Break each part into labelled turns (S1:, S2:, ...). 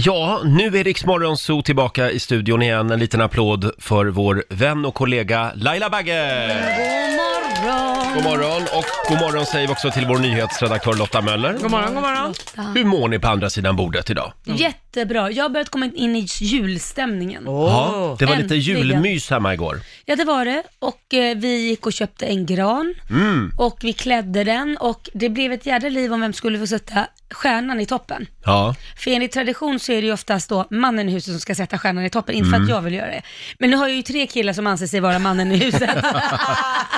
S1: Ja, nu är Riksmorgon Zoo tillbaka i studion igen. En liten applåd för vår vän och kollega Laila Bagge!
S2: God morgon!
S1: God morgon! Och god morgon säger vi också till vår nyhetsredaktör Lotta Möller.
S3: God morgon, god morgon.
S1: Hur mår ni på andra sidan bordet idag?
S2: Jättebra. Jag har börjat komma in i julstämningen.
S1: Ja, det var lite
S2: Äntligen.
S1: julmys hemma igår.
S2: Ja, det var det. Och eh, vi gick och köpte en gran
S1: Mm.
S2: och vi klädde den och det blev ett jädra liv om vem skulle få sätta stjärnan i toppen.
S1: Ja.
S2: För enligt tradition så är det ju oftast då mannen i huset som ska sätta stjärnan i toppen, inte för
S1: Mm.
S2: att jag vill göra det. Men nu har jag ju tre killar som anser sig vara mannen i huset.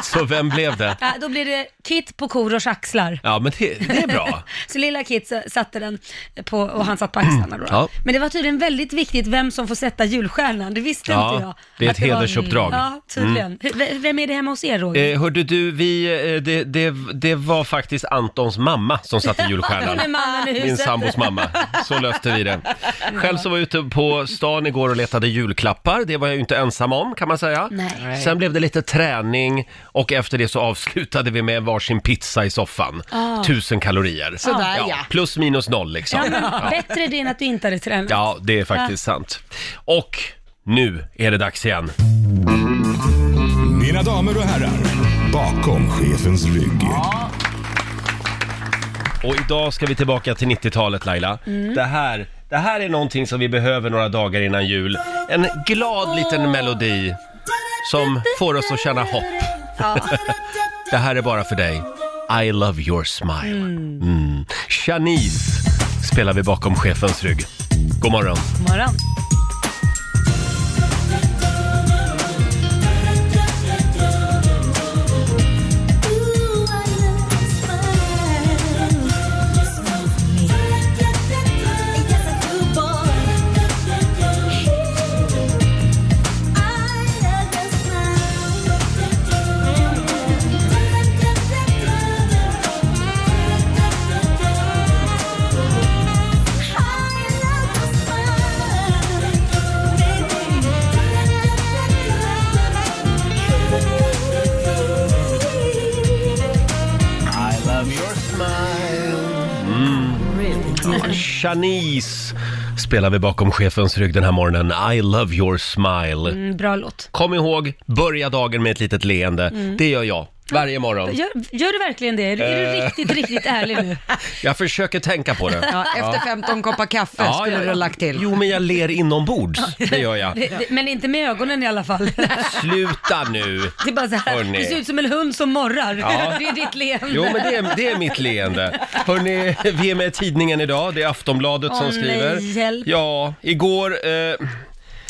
S1: Så vem blev det?
S2: ja, då blir det Kit på Korosh axlar.
S1: Ja, men det, det är bra.
S2: Så lilla Kit s- satte den på, och han satt på axlarna då.
S1: Mm. Ja.
S2: Men det var tydligen väldigt viktigt vem som får sätta julstjärnan, det visste
S1: Ja,
S2: inte jag.
S1: det är ett
S2: Att var-
S1: hedersuppdrag. Mm.
S2: Ja, tydligen. Hur- v- Vem är det hemma hos er Roger?
S1: Eh, hörde du, vi, eh, det, det, det var faktiskt Antons mamma som satte julstjärnan.
S2: Med mannen i huset.
S1: Min sambos mamma. Så löste vi det. Själv så var jag ute på stan igår och letade julklappar. Det var jag ju inte ensam om kan man säga.
S2: Nej.
S1: Sen blev det lite träning och efter det så avslutade vi med varsin pizza i soffan.
S2: Ah.
S1: Tusen kalorier.
S2: Sådär, ja.
S1: Plus minus noll liksom.
S2: Ja, men,
S1: Ja.
S2: Bättre det än att du inte hade tränat.
S1: ja, det är faktiskt sant. Och nu är det dags igen.
S4: Mina damer och herrar, bakom chefens rygg.
S1: Och idag ska vi tillbaka till 90-talet Laila.
S4: Mm.
S1: Det, här, det här är någonting som vi behöver några dagar innan jul. En glad liten melodi som får oss att känna hopp. det här är bara för dig. I love your smile.
S2: Mm.
S1: Mm. Shanice spelar vi bakom chefens rygg. God morgon.
S2: God morgon.
S1: Mm. Ja, Shanice spelar vi bakom chefens rygg den här morgonen. I love your smile.
S2: Mm, bra låt.
S1: Kom ihåg, börja dagen med ett litet leende.
S2: Mm.
S1: Det gör jag varje morgon.
S2: Gör, gör du verkligen det? Är du, är du
S1: Eh.
S2: riktigt, riktigt ärlig nu?
S1: Jag försöker tänka på det.
S3: Ja, efter 15 koppar kaffe skulle du ha lagt till.
S1: Jo, men jag ler inombords. Det gör jag.
S2: Det- det- Men inte med ögonen i alla fall.
S1: Sluta nu!
S2: Det är bara så här,
S1: Hörni.
S2: du ser ut som en hund som morrar.
S1: Ja.
S2: Det är ditt leende.
S1: Jo, men det är, det är mitt leende. Hörni, vi är med i tidningen idag. Det är Aftonbladet
S2: Åh,
S1: som skriver.
S2: nej, hjälp.
S1: Ja, igår eh,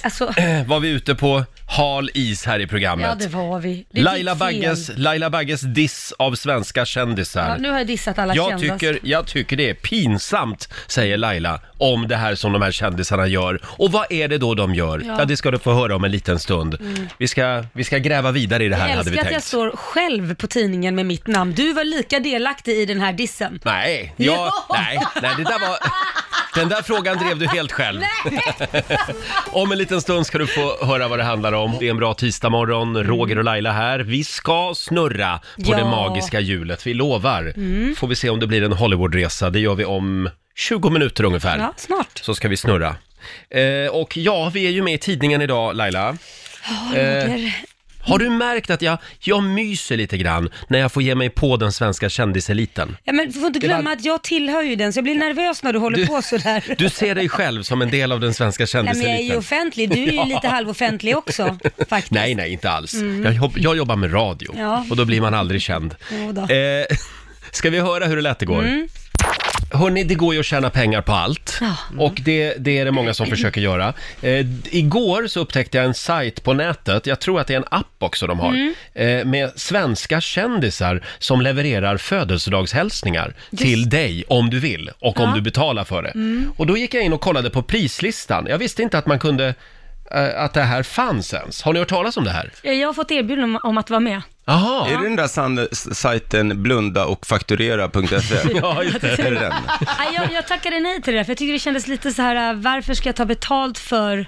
S2: Alltså,
S1: var vi ute på hal is här i programmet.
S2: ja det var vi. Det är
S1: Laila
S2: ditt fel.
S1: Bagges, Laila Bagges diss av svenska kändisar.
S2: Ja, nu har jag dissat alla
S1: jag,
S2: kändisar.
S1: tycker, jag tycker det är pinsamt, säger Laila, om det här som de här kändisarna gör. Och vad är det då de gör? Ja,
S2: Ja.
S1: det ska du få höra om en liten stund.
S2: Mm.
S1: Vi, ska, vi ska gräva vidare i det här,
S2: jag
S1: hade vi
S2: älskar att jag
S1: tänkt.
S2: står själv på tidningen med mitt namn. Du var lika delaktig i den här dissen.
S1: Nej, jag,
S2: Jo!
S1: nej, nej, det där var... Den där frågan drev du helt själv. om en liten stund ska du få höra vad det handlar om. Det är en bra tisdagmorgon. Roger och Laila här. Vi ska snurra på
S2: Ja.
S1: det magiska hjulet, vi lovar.
S2: Mm.
S1: Får vi se om det blir en Hollywoodresa. Det gör vi om 20 minuter ungefär.
S2: Ja, snart.
S1: så ska vi snurra. Eh, och ja, vi är ju med i tidningen idag, Laila.
S2: Ja,
S1: Eh,
S2: Roger.
S1: Har du märkt att jag, jag myser lite grann när jag får ge mig på den svenska kändiseliten?
S2: Ja, men du får inte
S1: det var-
S2: glömma att jag tillhör ju den, så jag blir nervös när du håller
S1: Du-
S2: på sådär.
S1: Du ser dig själv som en del av den svenska
S2: Nej, men
S1: kändiseliten.
S2: jag är ju offentlig. Du är ju
S1: Ja.
S2: lite halvoffentlig också. faktiskt.
S1: Nej, nej, inte alls.
S2: Mm.
S1: Jag, jobb, jag jobbar med radio
S2: Ja.
S1: och då blir man aldrig känd.
S2: Jo då.
S1: Eh, ska vi höra hur det lät igår?
S2: Mm.
S1: Hörni, det går ju att tjäna pengar på allt.
S2: Ja.
S1: Och det, det är det många som försöker göra. Eh, d- igår så upptäckte jag en sajt på nätet, jag tror att det är en app också de har,
S5: Mm.
S1: eh, med svenska kändisar som levererar födelsedagshälsningar
S5: Just-
S1: till dig om du vill och om
S5: Ja.
S1: du betalar för det.
S5: Mm.
S1: Och då gick jag in och kollade på prislistan. Jag visste inte att man kunde, eh, att det här fanns ens. Har ni hört talas om det här?
S2: Jag har fått erbjudande om- om att vara med.
S1: Aha.
S6: Är det den där sand- s- sajten blunda och fakturera.se?
S1: ja, just
S6: Är det den?
S2: Nej, jag, jag tackade nej till det, där, för jag tyckte det kändes lite så här, äh, varför ska jag ta betalt för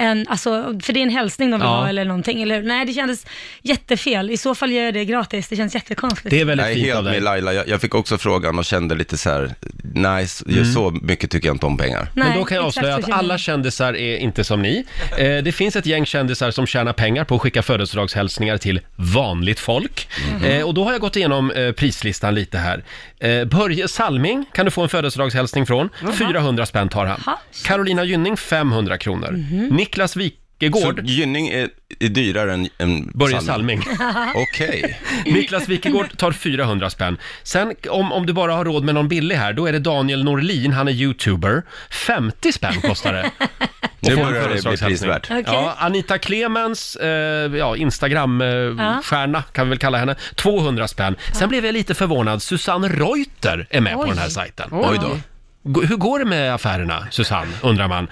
S2: en, alltså, för det är en hälsning de vill
S1: Ja.
S2: ha eller någonting, eller hur? Nej, det kändes jättefel. I så fall gör jag det gratis, det känns jättekonstigt.
S1: Det är väldigt
S6: Jag är
S1: fint av
S6: helt
S1: dig.
S6: med Laila, jag, jag fick också frågan och kände lite så här, nej, s-
S1: Mm.
S6: just så mycket tycker jag inte om pengar.
S2: Nej,
S1: Men då kan jag
S2: exakt
S1: avslöja
S2: så
S1: att
S2: känner jag.
S1: alla kändisar är inte som ni. Eh, det finns ett gäng kändisar som tjänar pengar på att skicka födelsedagshälsningar till vanligt folk.
S2: Mhm.
S1: Eh, och då har jag gått igenom eh, prislistan lite här. Eh, Börje Salming kan du få en födelsedagshälsning från. 400 spänn tar han.
S2: Jaha. Mhm.
S1: Carolina Gynning 500 kronor. Niklas
S6: Så
S1: Wikegård,
S6: Gynning är, är dyrare än, än
S1: Börje Salming.
S6: Okej.
S1: Niklas Wikegård tar 400 spänn. Sen om, om du bara har råd med någon billig här, då är det Daniel Norlin, han är youtuber. 50 spänn kostar det.
S6: Nu
S1: Och får en
S6: börjar det bli
S1: födelsedagshälsning.
S6: prisvärt.
S2: Okej.
S1: Ja, Anita Clemens, eh, ja,
S2: Ja.
S1: Instagram-stjärna kan vi väl kalla henne, 200 spänn. Sen blev jag lite förvånad, Susanne Reuter är med på
S2: Oj.
S1: den här sajten.
S6: Oj då.
S1: G- Hur går det med affärerna, Susanne, undrar man.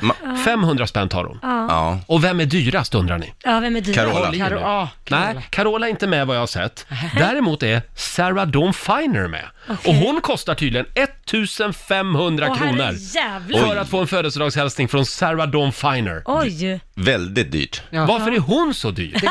S1: 500 spänn tar hon.
S6: Ja.
S1: Och vem är dyrast, undrar ni?
S2: Ja, vem är dyrast?
S6: Carola.
S1: Paulin
S3: Caro-
S1: nu.
S2: ah,
S3: ja, Carola.
S1: Nej, Carola är inte med vad jag har sett. Däremot är Sarah Dawn Finer med.
S2: Okej.
S1: Och hon kostar tydligen 1500
S2: Åh,
S1: kronor
S2: herrejävlar.
S1: för att få en födelsedagshälsning från Sarah Dawn Finer.
S2: Oj!
S6: Väldigt dyrt.
S3: Ja.
S1: Varför är hon så dyr?
S3: Det går,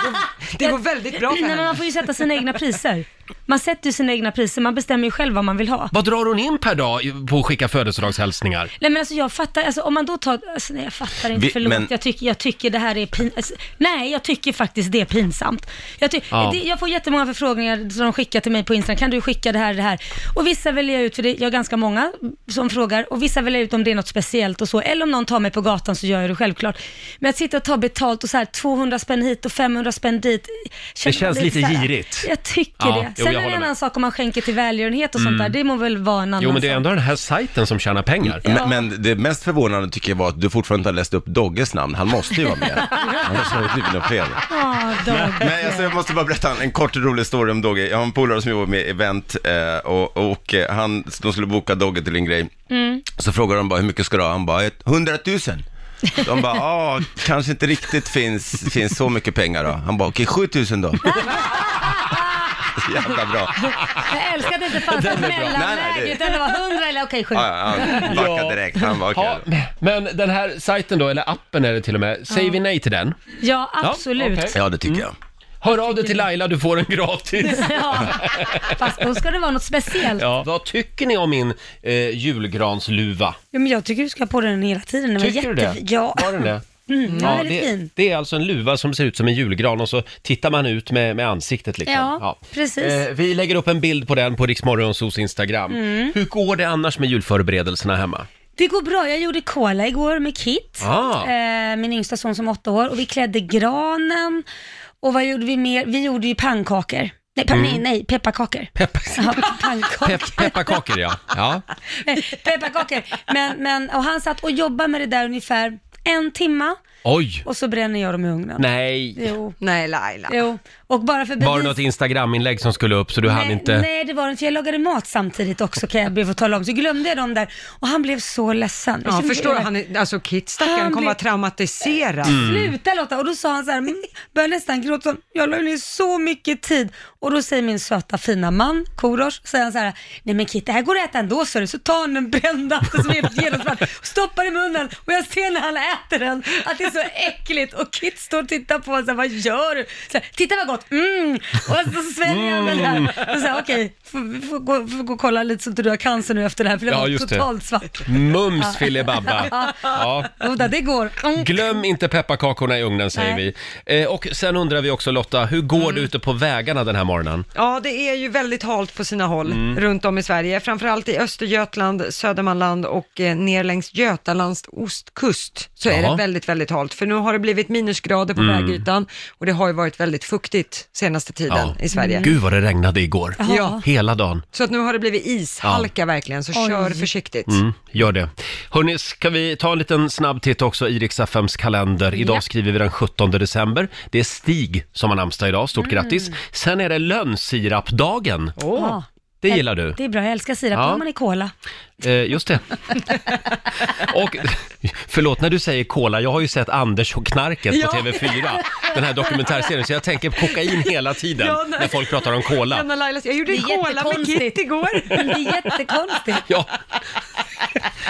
S3: det går väldigt bra
S2: Nej,
S3: för
S2: men man
S3: henne.
S2: får ju sätta sina egna priser. Man sätter ju sina egna priser, man bestämmer ju själv vad man vill ha.
S1: Vad drar hon in per dag i- på att skicka födelsedagshälsningar?
S2: Nej men alltså jag fattar, alltså, om man då tar, alltså, nej jag fattar inte,
S6: Vi-
S2: förlåt,
S6: men-
S2: jag, tycker, jag tycker det här är pinsamt. Alltså, nej, jag tycker faktiskt det är pinsamt. Jag, ty-
S1: Ja.
S2: det, jag får jättemånga förfrågningar som de skickar till mig på Instagram, kan du skicka det här, det här? Och vissa väljer jag ut, för det, jag har ganska många som frågar, och vissa väljer jag ut om det är något speciellt och så, eller om någon tar mig på gatan så gör jag det självklart. Men att sitta och ta betalt och så här 200 spänn hit och 500 spänn dit, känner
S1: Det
S2: man
S1: känns lite
S2: så här,
S1: girigt.
S2: Jag tycker
S1: Ja, jo,
S2: det. Sen
S1: jag
S2: är det
S1: håller
S2: en
S1: med. Mm.
S2: annan sak om man skänker till välgörenhet och sånt där, det må väl vara en annan
S1: Jo, men det är
S2: sak.
S1: ändå den här sajten som tjänar pengar.
S6: Men, men det mest förvånande tycker jag var att du fortfarande inte har läst upp Dogges namn. Han måste ju vara med. Han har slagit ut något fel.
S2: Ja, Dag.
S6: Nej, alltså jag måste bara berätta en- en kort rolig story om Dogge. Jag har en polare som jobbar med event eh, och, och eh, han, de skulle boka Dogge till en grej. Så frågar de bara, hur mycket ska du ha? Han bara, "Ett- 100 000. De bara, ja, kanske inte riktigt finns, finns så mycket pengar då. Han bara, okej, 7 000 då. Jävla bra.
S2: Jag älskar att det inte fanns ett
S6: Nej, nej,
S2: mellanläge,
S6: det-
S2: utan det var 100 eller okej, sju.
S6: Ja, ja, han backade direkt. Han bara, okej.
S1: Ja, men den här sajten då, eller appen är det till och med, säger vi nej till den?
S2: Ja, absolut.
S1: okej.
S6: Ja, det tycker jag.
S1: Hör av dig till Laila, du får den gratis.
S2: Ja. Fast då ska det vara något speciellt. Ja.
S1: Ja. Vad tycker ni om min eh, julgransluva?
S2: men jag tycker du ska ha på den hela tiden. Den var
S1: Tycker du
S2: jättefin.
S1: det?
S2: Ja.
S1: Var den det?
S2: Mm, den var väldigt
S1: det,
S2: fin.
S1: det är alltså en luva som ser ut som en julgran och så tittar man ut med, med ansiktet liksom.
S2: Ja, precis.
S1: Eh, vi lägger upp en bild på den på Riksmorgonsos Instagram.
S2: Mm.
S1: Hur går det annars med julförberedelserna hemma?
S2: Det går bra. Jag gjorde cola igår med Kit,
S1: Ah.
S2: eh, min yngsta son som är åtta år. Och vi klädde granen. Och vad gjorde vi mer? Vi gjorde ju pannkakor. Nej, pan- nej, nej pepparkakor.
S1: Peppa,
S2: Ja, pannkakor.
S1: pepp, pepparkakor ja. ja.
S2: pepparkakor. Men, men, och han satt och jobbade med det där ungefär en timma
S1: Oj!
S2: och så bränner jag dem i ugnen.
S1: Nej!
S2: Jo,
S3: Nej, Laila.
S2: jo. Och bara för bevis...
S1: Var det något Instagram-inlägg som skulle upp så du hann
S2: nej,
S1: inte?
S2: nej, det var det inte. Jag lagade mat samtidigt också kan jag be att få tala om. Så glömde jag dem där och han blev så ledsen. Jag
S3: Ja,
S2: kände-
S3: förstår du? Han är, alltså Kit
S2: Han
S3: stackaren
S2: blir-
S3: kommer vara traumatiserad.
S2: Sluta Lotta! Och då sa han så här, mm, började nästan gråta, så, jag la ju ner så mycket tid. Och då säger min söta fina man, Korosh, säger han så här, nej men Kit, det här går att äta ändå så du. Så tar han den brända appen som är helt genomsvart, och stoppar i munnen och jag ser när han äter den att det är så äckligt och Kit står och tittar på honom så här, vad gör du? Så här, Titta vad gott, mm! Och så sväljer han den
S1: Mm.
S2: här. Och så här, okej, får, får, gå- får gå och kolla lite så att du har cancer nu efter det här, för det
S1: Ja,
S2: var
S1: just det.
S2: totalt svart.
S1: Mums filibabba! Ja.
S2: Lotta, det går. Mm.
S1: Glöm inte pepparkakorna i ugnen säger
S2: Nej.
S1: vi. Eh, och sen undrar vi också Lotta, hur går det ute på vägarna den här morgonen?
S3: Ja, det är ju väldigt halt på sina håll runt om i Sverige, framförallt i Östergötland, Södermanland och eh, ner längs Götalands ostkust så är
S1: Jaha.
S3: det väldigt, väldigt halt. För nu har det blivit minusgrader på vägytan och det har ju varit väldigt fuktigt senaste tiden i Sverige.
S1: Gud vad det regnade igår.
S3: Ja.
S1: Hela dagen.
S3: Så att nu har det blivit ishalka verkligen, så kör försiktigt.
S1: Mm, gör det. Hörni, ska vi ta en liten snabb titt också i Rix FMs kalender. Idag
S2: Ja.
S1: skriver vi den 17 december. Det är Stig som har namnsdag idag, stort
S3: Mm.
S1: grattis. Sen är det lönnsirapdagen.
S2: Ja.
S1: Det gillar du.
S2: Det är bra, jag älskar sirap.
S1: Ja.
S2: Då har man i cola.
S1: Eh, just det. Och förlåt, när du säger cola, jag har ju sett Anders och knarket på TV4, den här dokumentärserien, så jag tänker på kokain hela tiden
S3: Ja, nej.
S1: när folk pratar om cola.
S3: Anna Laila, jag gjorde
S2: Det
S3: en
S2: är
S3: cola med
S2: jättekonstigt.
S3: Kit igår.
S2: Det är jättekonstigt.
S1: Ja,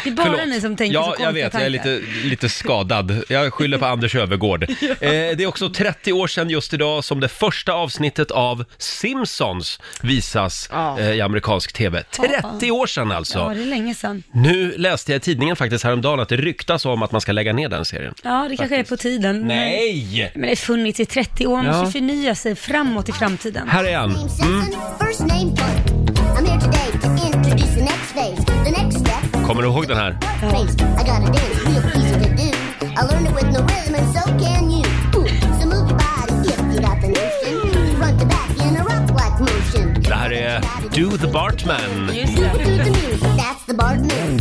S2: Det är bara
S1: Förlåt.
S2: ni som tänker så
S1: Ja,
S2: konstiga
S1: jag vet. Jag är
S2: tankar.
S1: lite, lite skadad. Jag skyller på Anders Övergård. eh, det är också 30 år sedan just idag som det första avsnittet av Simpsons visas
S3: Ja.
S1: eh, i amerikansk tv. 30 år sedan
S2: Ja,
S1: alltså!
S2: det är länge sedan.
S1: Nu läste jag i tidningen faktiskt häromdagen att det ryktas om att man ska lägga ner den serien.
S2: Ja, det kanske är på tiden.
S1: Nej!
S2: Men det har funnits i 30 år, man
S1: Ja.
S2: måste förnya sig framåt i framtiden.
S1: Här är han.
S5: Name Simpson, first name Blunt. I'm here today to introduce the next phase. The next step.
S1: Kommer du ihåg den här?
S5: Phase. I got a dance real easy to do. I learned it with no rhythm and so can you. Ooh, so move your body if you got the notion. Front to back in a rock-like motion.
S1: Det här är Do the Bartman.
S5: Just do the music. That's the Bartman.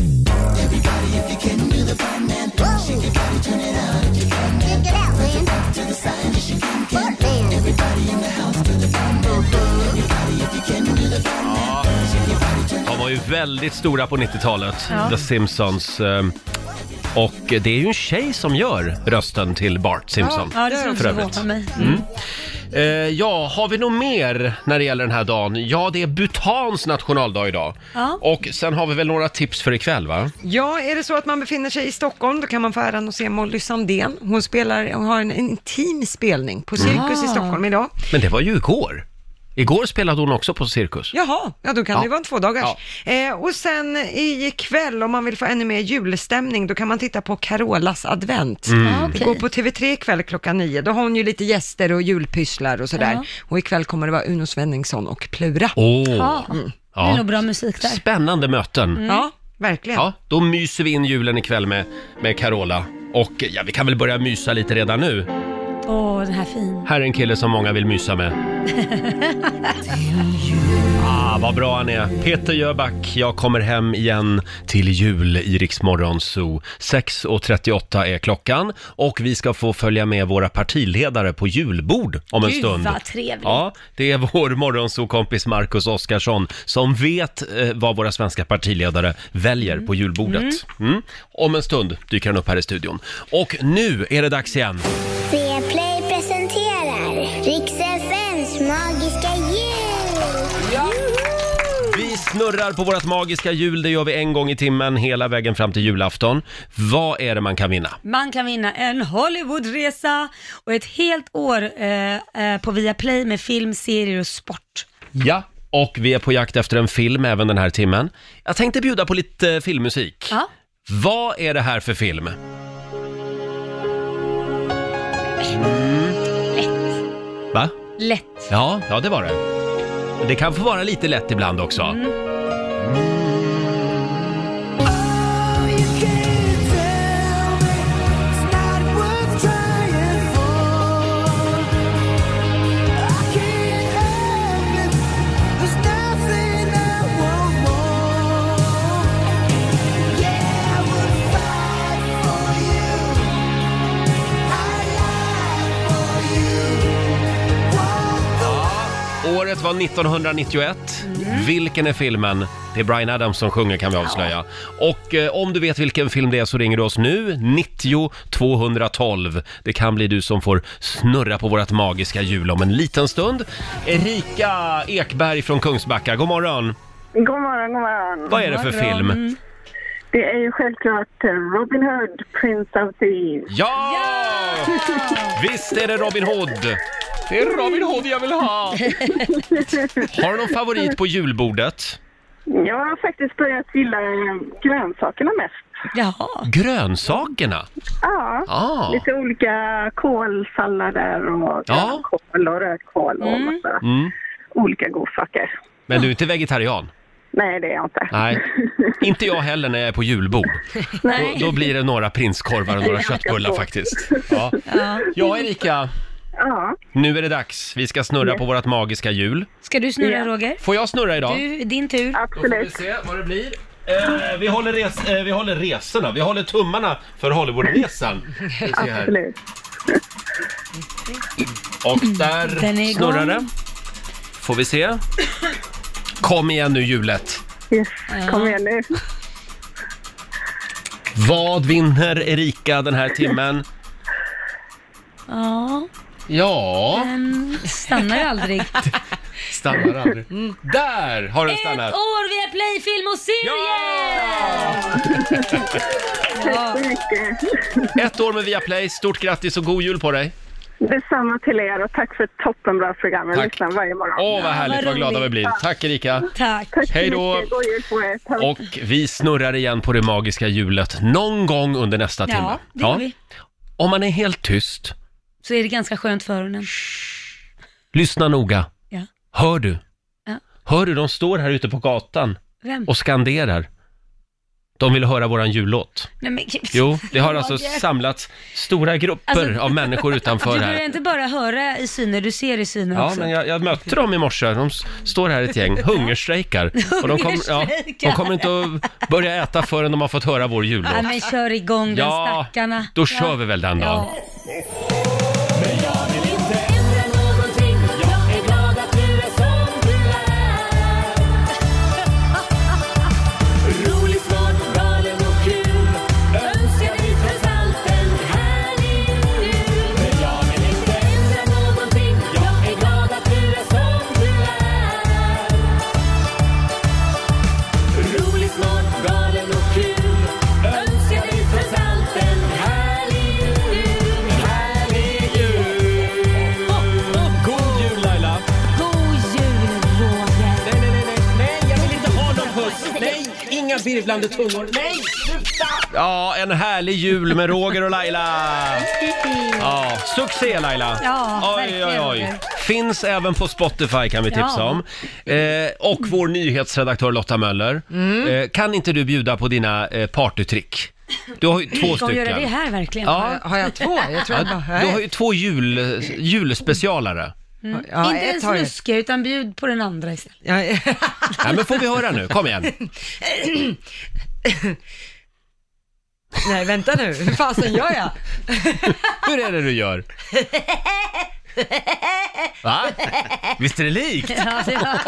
S5: Everybody, if you can do the Bartman, shake your body, turn it up. Check it out, man. To the side, yes you can. Bartman.
S1: De var ju väldigt stora på 90-talet, The Simpsons. eh, Och det är ju en tjej som gör rösten till Bart Simpson.
S2: Ja, det skulle inte
S1: För övrigt.
S2: förvåna mig.
S1: Eh, ja, har vi något mer när det gäller den här dagen? Ja, det är Bhutans nationaldag idag.
S2: Ja.
S1: Och sen har vi väl några tips för ikväll, va?
S3: Ja, är det så att man befinner sig i Stockholm, då kan man få äran att se Molly Sandén. Hon, spelar, hon har en intim spelning på Cirkus i
S2: Ah.
S3: Stockholm idag.
S1: Men det var ju igår. Igår spelade hon också på Cirkus.
S3: Jaha, ja då kan
S1: Ja.
S3: det ju vara en tvådagars. Eh, och sen ikväll, om man vill få ännu mer julstämning, då kan man titta på Carolas advent.
S1: Mm.
S2: Ja,
S3: Det
S2: okej.
S3: går på TV3 ikväll klockan nio. Då har hon ju lite gäster och julpysslar och sådär.
S2: Ja.
S3: Och ikväll kommer det vara Uno Svenningsson och Plura.
S1: Åh!
S2: Ja,
S1: Mm.
S2: det är nog bra musik där. Mm.
S1: Spännande möten.
S3: Mm. Ja, verkligen.
S1: Ja, då myser vi in julen ikväll med, med Carola. Och ja, vi kan väl börja mysa lite redan nu.
S2: Åh, den här fin.
S1: Här är en kille som många vill mysa med. Ah, vad bra han är. Peter Jöback, jag kommer hem igen till jul i Riksmorgon Zoo. 6.38 är klockan och vi ska få följa med våra partiledare på julbord om en
S2: Gud,
S1: stund.
S2: vad trevligt.
S1: Ja, det är vår morgonsokompis Marcus Oskarsson som vet eh, vad våra svenska partiledare väljer på julbordet. Mm. Om en stund dyker han upp här i studion. Och nu är det dags igen.
S5: Play presenterar Rix FMs magiska jul!
S1: Vi snurrar på vårt magiska hjul, det gör vi en gång i timmen hela vägen fram till julafton. Vad är det man kan vinna?
S2: Man kan vinna en Hollywoodresa och ett helt år eh, eh, på Viaplay med film, serier och sport.
S1: Ja. Och vi är på jakt efter en film även den här timmen. Jag tänkte bjuda på lite eh, filmmusik.
S2: Ja.
S1: Vad är det här för film? Mm. Va?
S2: Mm. Lätt.
S1: Ja, ja det var det. Det kan få vara lite lätt ibland också.
S2: Mm.
S7: Oh,
S1: Året var 1991. Vilken är filmen? Det är Bryan Adams som sjunger kan vi avslöja. Och eh, om du vet vilken film det är så ringer du oss nu, 90 212. Det kan bli du som får snurra på vårt magiska hjul om en liten stund. Erika Ekberg från Kungsbacka, god morgon.
S8: God morgon, god morgon.
S1: Vad är det för film?
S2: Mm.
S8: Det är ju självklart eh, Robin Hood, Prince of Thieves.
S1: Ja! Visst är det Robin Hood! Det är Robin Hood jag vill ha! Har du någon favorit på julbordet?
S8: Jag har faktiskt börjat gilla eh, grönsakerna mest.
S2: Jaha.
S1: Grönsakerna?
S8: Ja,
S1: Ah.
S8: lite olika kålsallader och
S1: Ja.
S8: grönkål och rödkål och massa
S1: Mm.
S8: olika godsaker.
S1: Men du är inte vegetarian?
S8: Nej, det är jag inte.
S1: Nej. Inte jag heller när jag är på julbord.
S2: Nej.
S1: Då, då blir det några prinskorvar och några köttbullar faktiskt. Ja.
S2: Ja.
S1: ja, Erika.
S8: Ja,
S1: Nu är det dags. Vi ska snurra på vårt magiska hjul.
S2: Ska du snurra
S8: Ja.
S2: Roger?
S1: Får jag snurra idag?
S2: Du, din tur.
S8: absolut.
S1: se vad det blir. Eh, vi, håller res- eh, vi håller resorna, vi håller tummarna för Hollywoodresan. Vi ser här.
S8: absolut.
S1: Och
S2: Den är
S1: där
S2: igång.
S1: snurrar det. Får vi se. Kom igen nu hjulet.
S8: Yes. Kom igen nu.
S1: Vad vinner Erika den här timmen?
S2: Ja.
S1: Ja,
S2: Den Ehm, stannar aldrig. Ett
S1: stannar aldrig. Där har den stannat!
S2: Mm. år via Play Film och serier!
S8: Tack så mycket.
S1: Ett år med Viaplay. Stort grattis och god jul på dig!
S8: Detsamma till er och tack för ett toppenbra program. Jag
S1: Tack.
S8: lyssnar varje morgon.
S1: Åh, vad
S2: vad
S1: härligt, vad glada
S2: roligt.
S1: vi blir. Tack Erika!
S2: Tack.
S8: Tack så
S1: Hej då.
S8: mycket. God jul på er. Tack.
S1: Och vi snurrar igen på det magiska hjulet någon gång under nästa timme.
S2: Ja, det gör vi.
S1: Om man är helt tyst,
S2: Så är det ganska skönt för öronen.
S1: lyssna noga.
S2: Ja.
S1: Hör du?
S2: Ja.
S1: Hör du, de står här ute på gatan
S2: Vem?
S1: och skanderar. De vill höra våran jullåt.
S2: Nej, men,
S1: Jo, det har alltså
S2: Roger.
S1: samlats stora grupper
S2: Alltså-
S1: av människor
S2: Du
S1: utanför
S2: behöver
S1: här.
S2: inte bara höra i syner, du ser i synen
S1: Ja,
S2: också.
S1: men jag, jag mötte dem i morse. De s- står här ett gäng, hungerstrejkar. Och de, kom, ja, de kommer inte att börja äta förrän de har fått höra vår jullåt.
S2: Nej, men kör igång den
S1: Ja,
S2: stackarna.
S1: då kör vi väl den då.
S2: Ja.
S1: God jul Laila!
S2: God jul, Roger!
S1: Nej, nej, nej, nej, jag vill inte ha någon puss! Nej, inga virvlande tungor! Nej, sluta! Ja, en härlig jul med Roger och Laila! Ja, succé Laila!
S2: Ja,
S1: oj, oj,
S2: verkligen,
S1: oj.
S2: Roger.
S1: Finns även på Spotify kan vi tipsa
S2: Ja.
S1: om. Eh, och vår nyhetsredaktör Lotta Möller. Eh, kan inte du bjuda på dina eh, partytrick? Du har ju två
S2: Ska vi göra det
S1: stycken.
S2: här verkligen?
S1: Ja,
S3: Eh, Har jag två? Jag tror jag bara
S1: du har ju två jul, julspecialare.
S3: ja,
S2: inte
S3: ett
S2: en
S3: har jag.
S2: snuska, utan bjud på den andra istället.
S3: Ja,
S1: Nej, men får vi höra nu? Kom igen.
S3: Nej, vänta nu. Hur fasen gör jag?
S1: Hur är det du gör? Va? Visst är det likt?
S2: Ja, det var...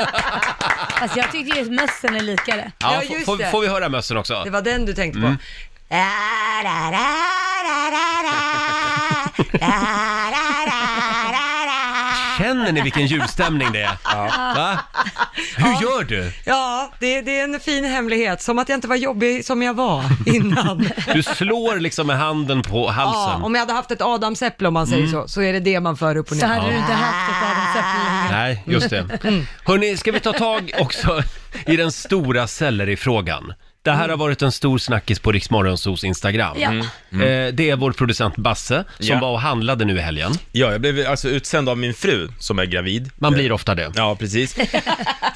S2: Alltså jag tyckte ju att mössen är likare.
S1: Ja,
S3: Ja,
S1: f-
S3: just
S1: får,
S3: det.
S1: får vi höra mössen också?
S3: Det var den du tänkte på.
S1: Känner ni vilken julstämning det är? Va? Hur gör du?
S3: Ja, det, det är en fin hemlighet. Som att jag inte var jobbig som jag var innan.
S1: Du slår liksom med handen på
S3: Ja,
S1: halsen.
S3: om jag hade haft ett adamsäpple om man säger så, så är det det man för upp och
S2: Så
S3: ner.
S2: hade du inte haft ett adamsäpple
S1: Nej, just
S3: Mm.
S1: det. Hörni, ska vi ta tag också i den stora sellerifrågan? Det här har varit en stor snackis på Riksmorgonsos Instagram.
S2: Ja.
S1: Eh, Det är vår producent Basse som
S9: Mm. Ja.
S1: var och handlade nu i helgen.
S9: Ja, jag blev alltså utsänd av min fru som är gravid.
S1: Man blir ofta det.
S9: Ja, precis.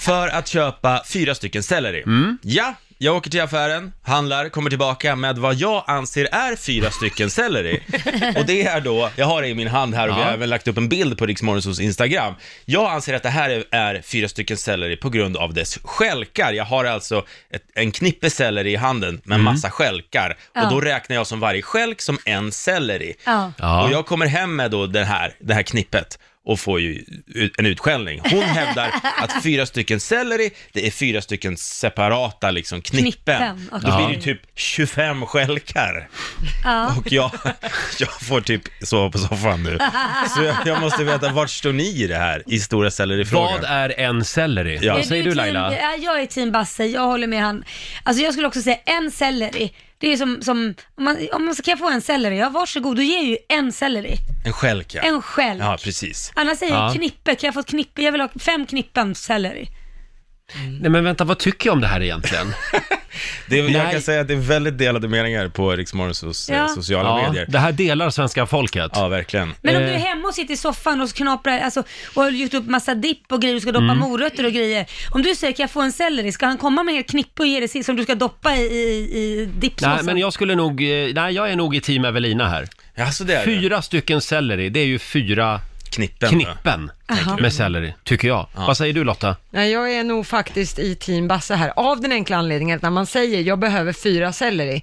S9: För att köpa fyra stycken selleri. Ja, jag åker till affären, handlar, kommer tillbaka med vad jag anser är fyra stycken selleri. Och det är då, jag har det i min hand här och vi
S1: Ja.
S9: har även lagt upp en bild på Riksmorgonsols Instagram. Jag anser att det här är, är fyra stycken selleri på grund av dess skälkar. Jag har alltså ett, en knippe selleri i handen med massa skälkar.
S2: Ja.
S9: Och då räknar jag som varje skälk som en selleri.
S2: Ja.
S1: Ja.
S9: Och jag kommer hem med då den här, det här knippet och får ju ut- en utskällning. Hon hävdar att fyra stycken selleri, det är fyra stycken separata liksom knippen.
S2: Knippen, okej.
S9: Då blir det ju typ 25 skälkar.
S2: Ja.
S9: Och jag, jag får typ sova på soffan nu. Så jag, jag måste veta, vart står ni i det här, i stora sellerifrågan?
S1: Vad är en selleri?
S9: Ja.
S1: Vad säger du Laila?
S2: Team, ja, jag är team Basse, jag håller med han. Alltså jag skulle också säga en selleri. Det är ju som, som om, man, om man ska kan jag få en selleri, ja varsågod, då ger jag ju en selleri.
S9: En skälk ja.
S2: En skälk.
S9: Ja, precis.
S2: Annars säger
S1: Ja.
S2: jag knippe, kan jag få ett knippe? Jag vill ha fem knippen selleri.
S1: Nej men vänta, vad tycker jag om det här egentligen?
S9: Det, är- jag
S1: Nej.
S9: kan säga att det är väldigt delade meningar på Riksmorgons
S2: Ja.
S9: ja. sociala medier.
S1: det här delar svenska folket.
S9: Ja, verkligen.
S2: Men om
S1: Eh.
S2: du är hemma och sitter i soffan och så knaprar, alltså, och har gjort upp massa dipp och grejer, du ska
S1: Mm.
S2: doppa morötter och grejer. Om du säger kan jag få en selleri, ska han komma med en knippe och ge dig si- som du ska doppa i, i, i dippsåsen?
S1: Nej men jag skulle nog, eh, nej jag är nog i team Evelina här.
S9: Ja, så det är det.
S1: Fyra stycken selleri, det är ju fyra
S9: Knippen. va?
S1: knippen med selleri, tycker jag. Vad säger du Lotta?
S3: Nej, jag är nog faktiskt i team Basse här, av den enkla anledningen att när man säger jag behöver fyra selleri,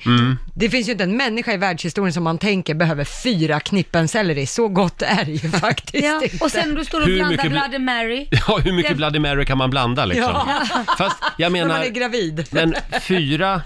S3: det finns ju inte en människa i världshistorien som man tänker behöver fyra knippen selleri, så gott är det ju faktiskt
S2: Ja,
S3: inte.
S2: och sen om du står och
S1: Hur
S2: blandar
S1: mycket bl-
S2: Bloody Mary.
S1: Ja, hur mycket
S2: Det-
S1: Bloody Mary kan man blanda liksom?
S3: Ja.
S1: Fast jag
S3: när man
S1: menar,
S3: är gravid.
S1: men fyra,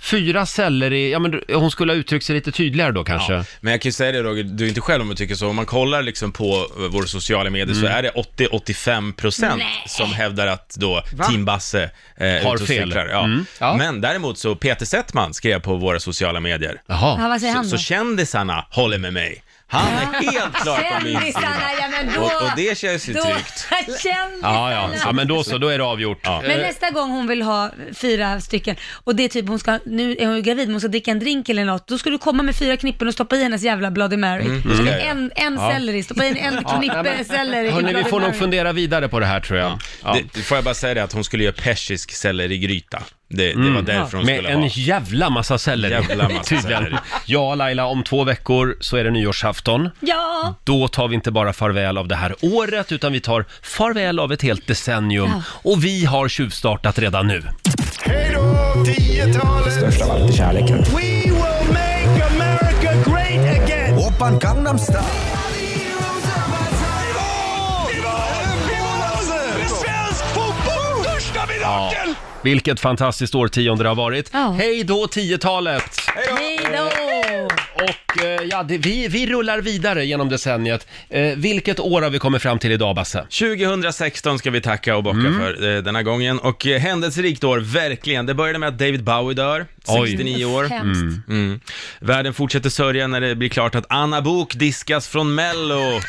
S1: fyra selleri, ja men hon skulle ha uttryckt sig lite tydligare då kanske.
S9: Ja. Men jag kan ju säga det Roger, du är inte själv om du tycker så. Om man kollar liksom på eh, våra sociala medier så
S1: Mm.
S9: är det 80-85% som hävdar att då Team Basse eh, är
S1: Har
S9: ute och
S1: fel.
S9: cyklar. Ja.
S1: Mm. Ja.
S9: Men däremot så Peter Settman skrev på våra sociala medier.
S2: Ja,
S1: Jaha.
S2: vad säger han
S9: Så,
S2: då?
S9: så kändisarna håller med mig. Han är helt klart på min
S2: Kändisarna,
S9: sida.
S2: ja men då...
S9: Och, och det känns ju
S2: då,
S9: tryggt.
S2: kändisarna.
S1: Ja, ja. ja, men då så, då är det avgjort.
S2: Men nästa gång hon vill ha fyra stycken och det är typ hon ska, nu är hon ju gravid men hon ska dricka en drink eller något, då ska du komma med fyra knippen och stoppa i hennes jävla Bloody Mary.
S1: Mm,
S2: Så ska
S9: Ja, ja.
S2: en, en selleri, stoppa in en knippe selleri i
S1: Hörni, vi
S2: Bloody
S1: får nog
S2: Mary.
S1: fundera vidare på det här tror jag. Ja.
S9: Det, får jag bara säga det att hon skulle göra persisk sellerigryta. Det, det var därför hon
S1: Mm. Med
S9: skulle
S1: en
S9: ha.
S1: jävla massa selleri.
S9: Jävla massa
S1: Tydligen.
S9: selleri.
S1: Ja, Laila, om två veckor så är det nyårsafton.
S2: Ja,
S1: Då tar vi inte bara farväl av det här året, utan vi tar farväl av ett helt decennium. Och vi har tjuvstartat redan nu.
S4: Hej då, 10-talet! Störst av allt kärleken. We will make America great again! Oppan Gangnam Style.
S1: Vilket fantastiskt årtionde det har varit.
S2: Ja.
S1: Hej då 10-talet!
S2: hej då!
S1: Och eh, ja, det, vi, vi rullar vidare genom decenniet. Eh, vilket år har vi kommit fram till idag, Basse?
S9: 2016 ska vi tacka och bocka
S1: Mm.
S9: för eh, denna gången och eh, händelserikt år, verkligen. Det började med att David Bowie dör,
S1: Oj.
S9: 69 år.
S2: Hemskt.
S9: Mm. Världen fortsätter sörja när det blir klart att Anna Bok diskas från Mello.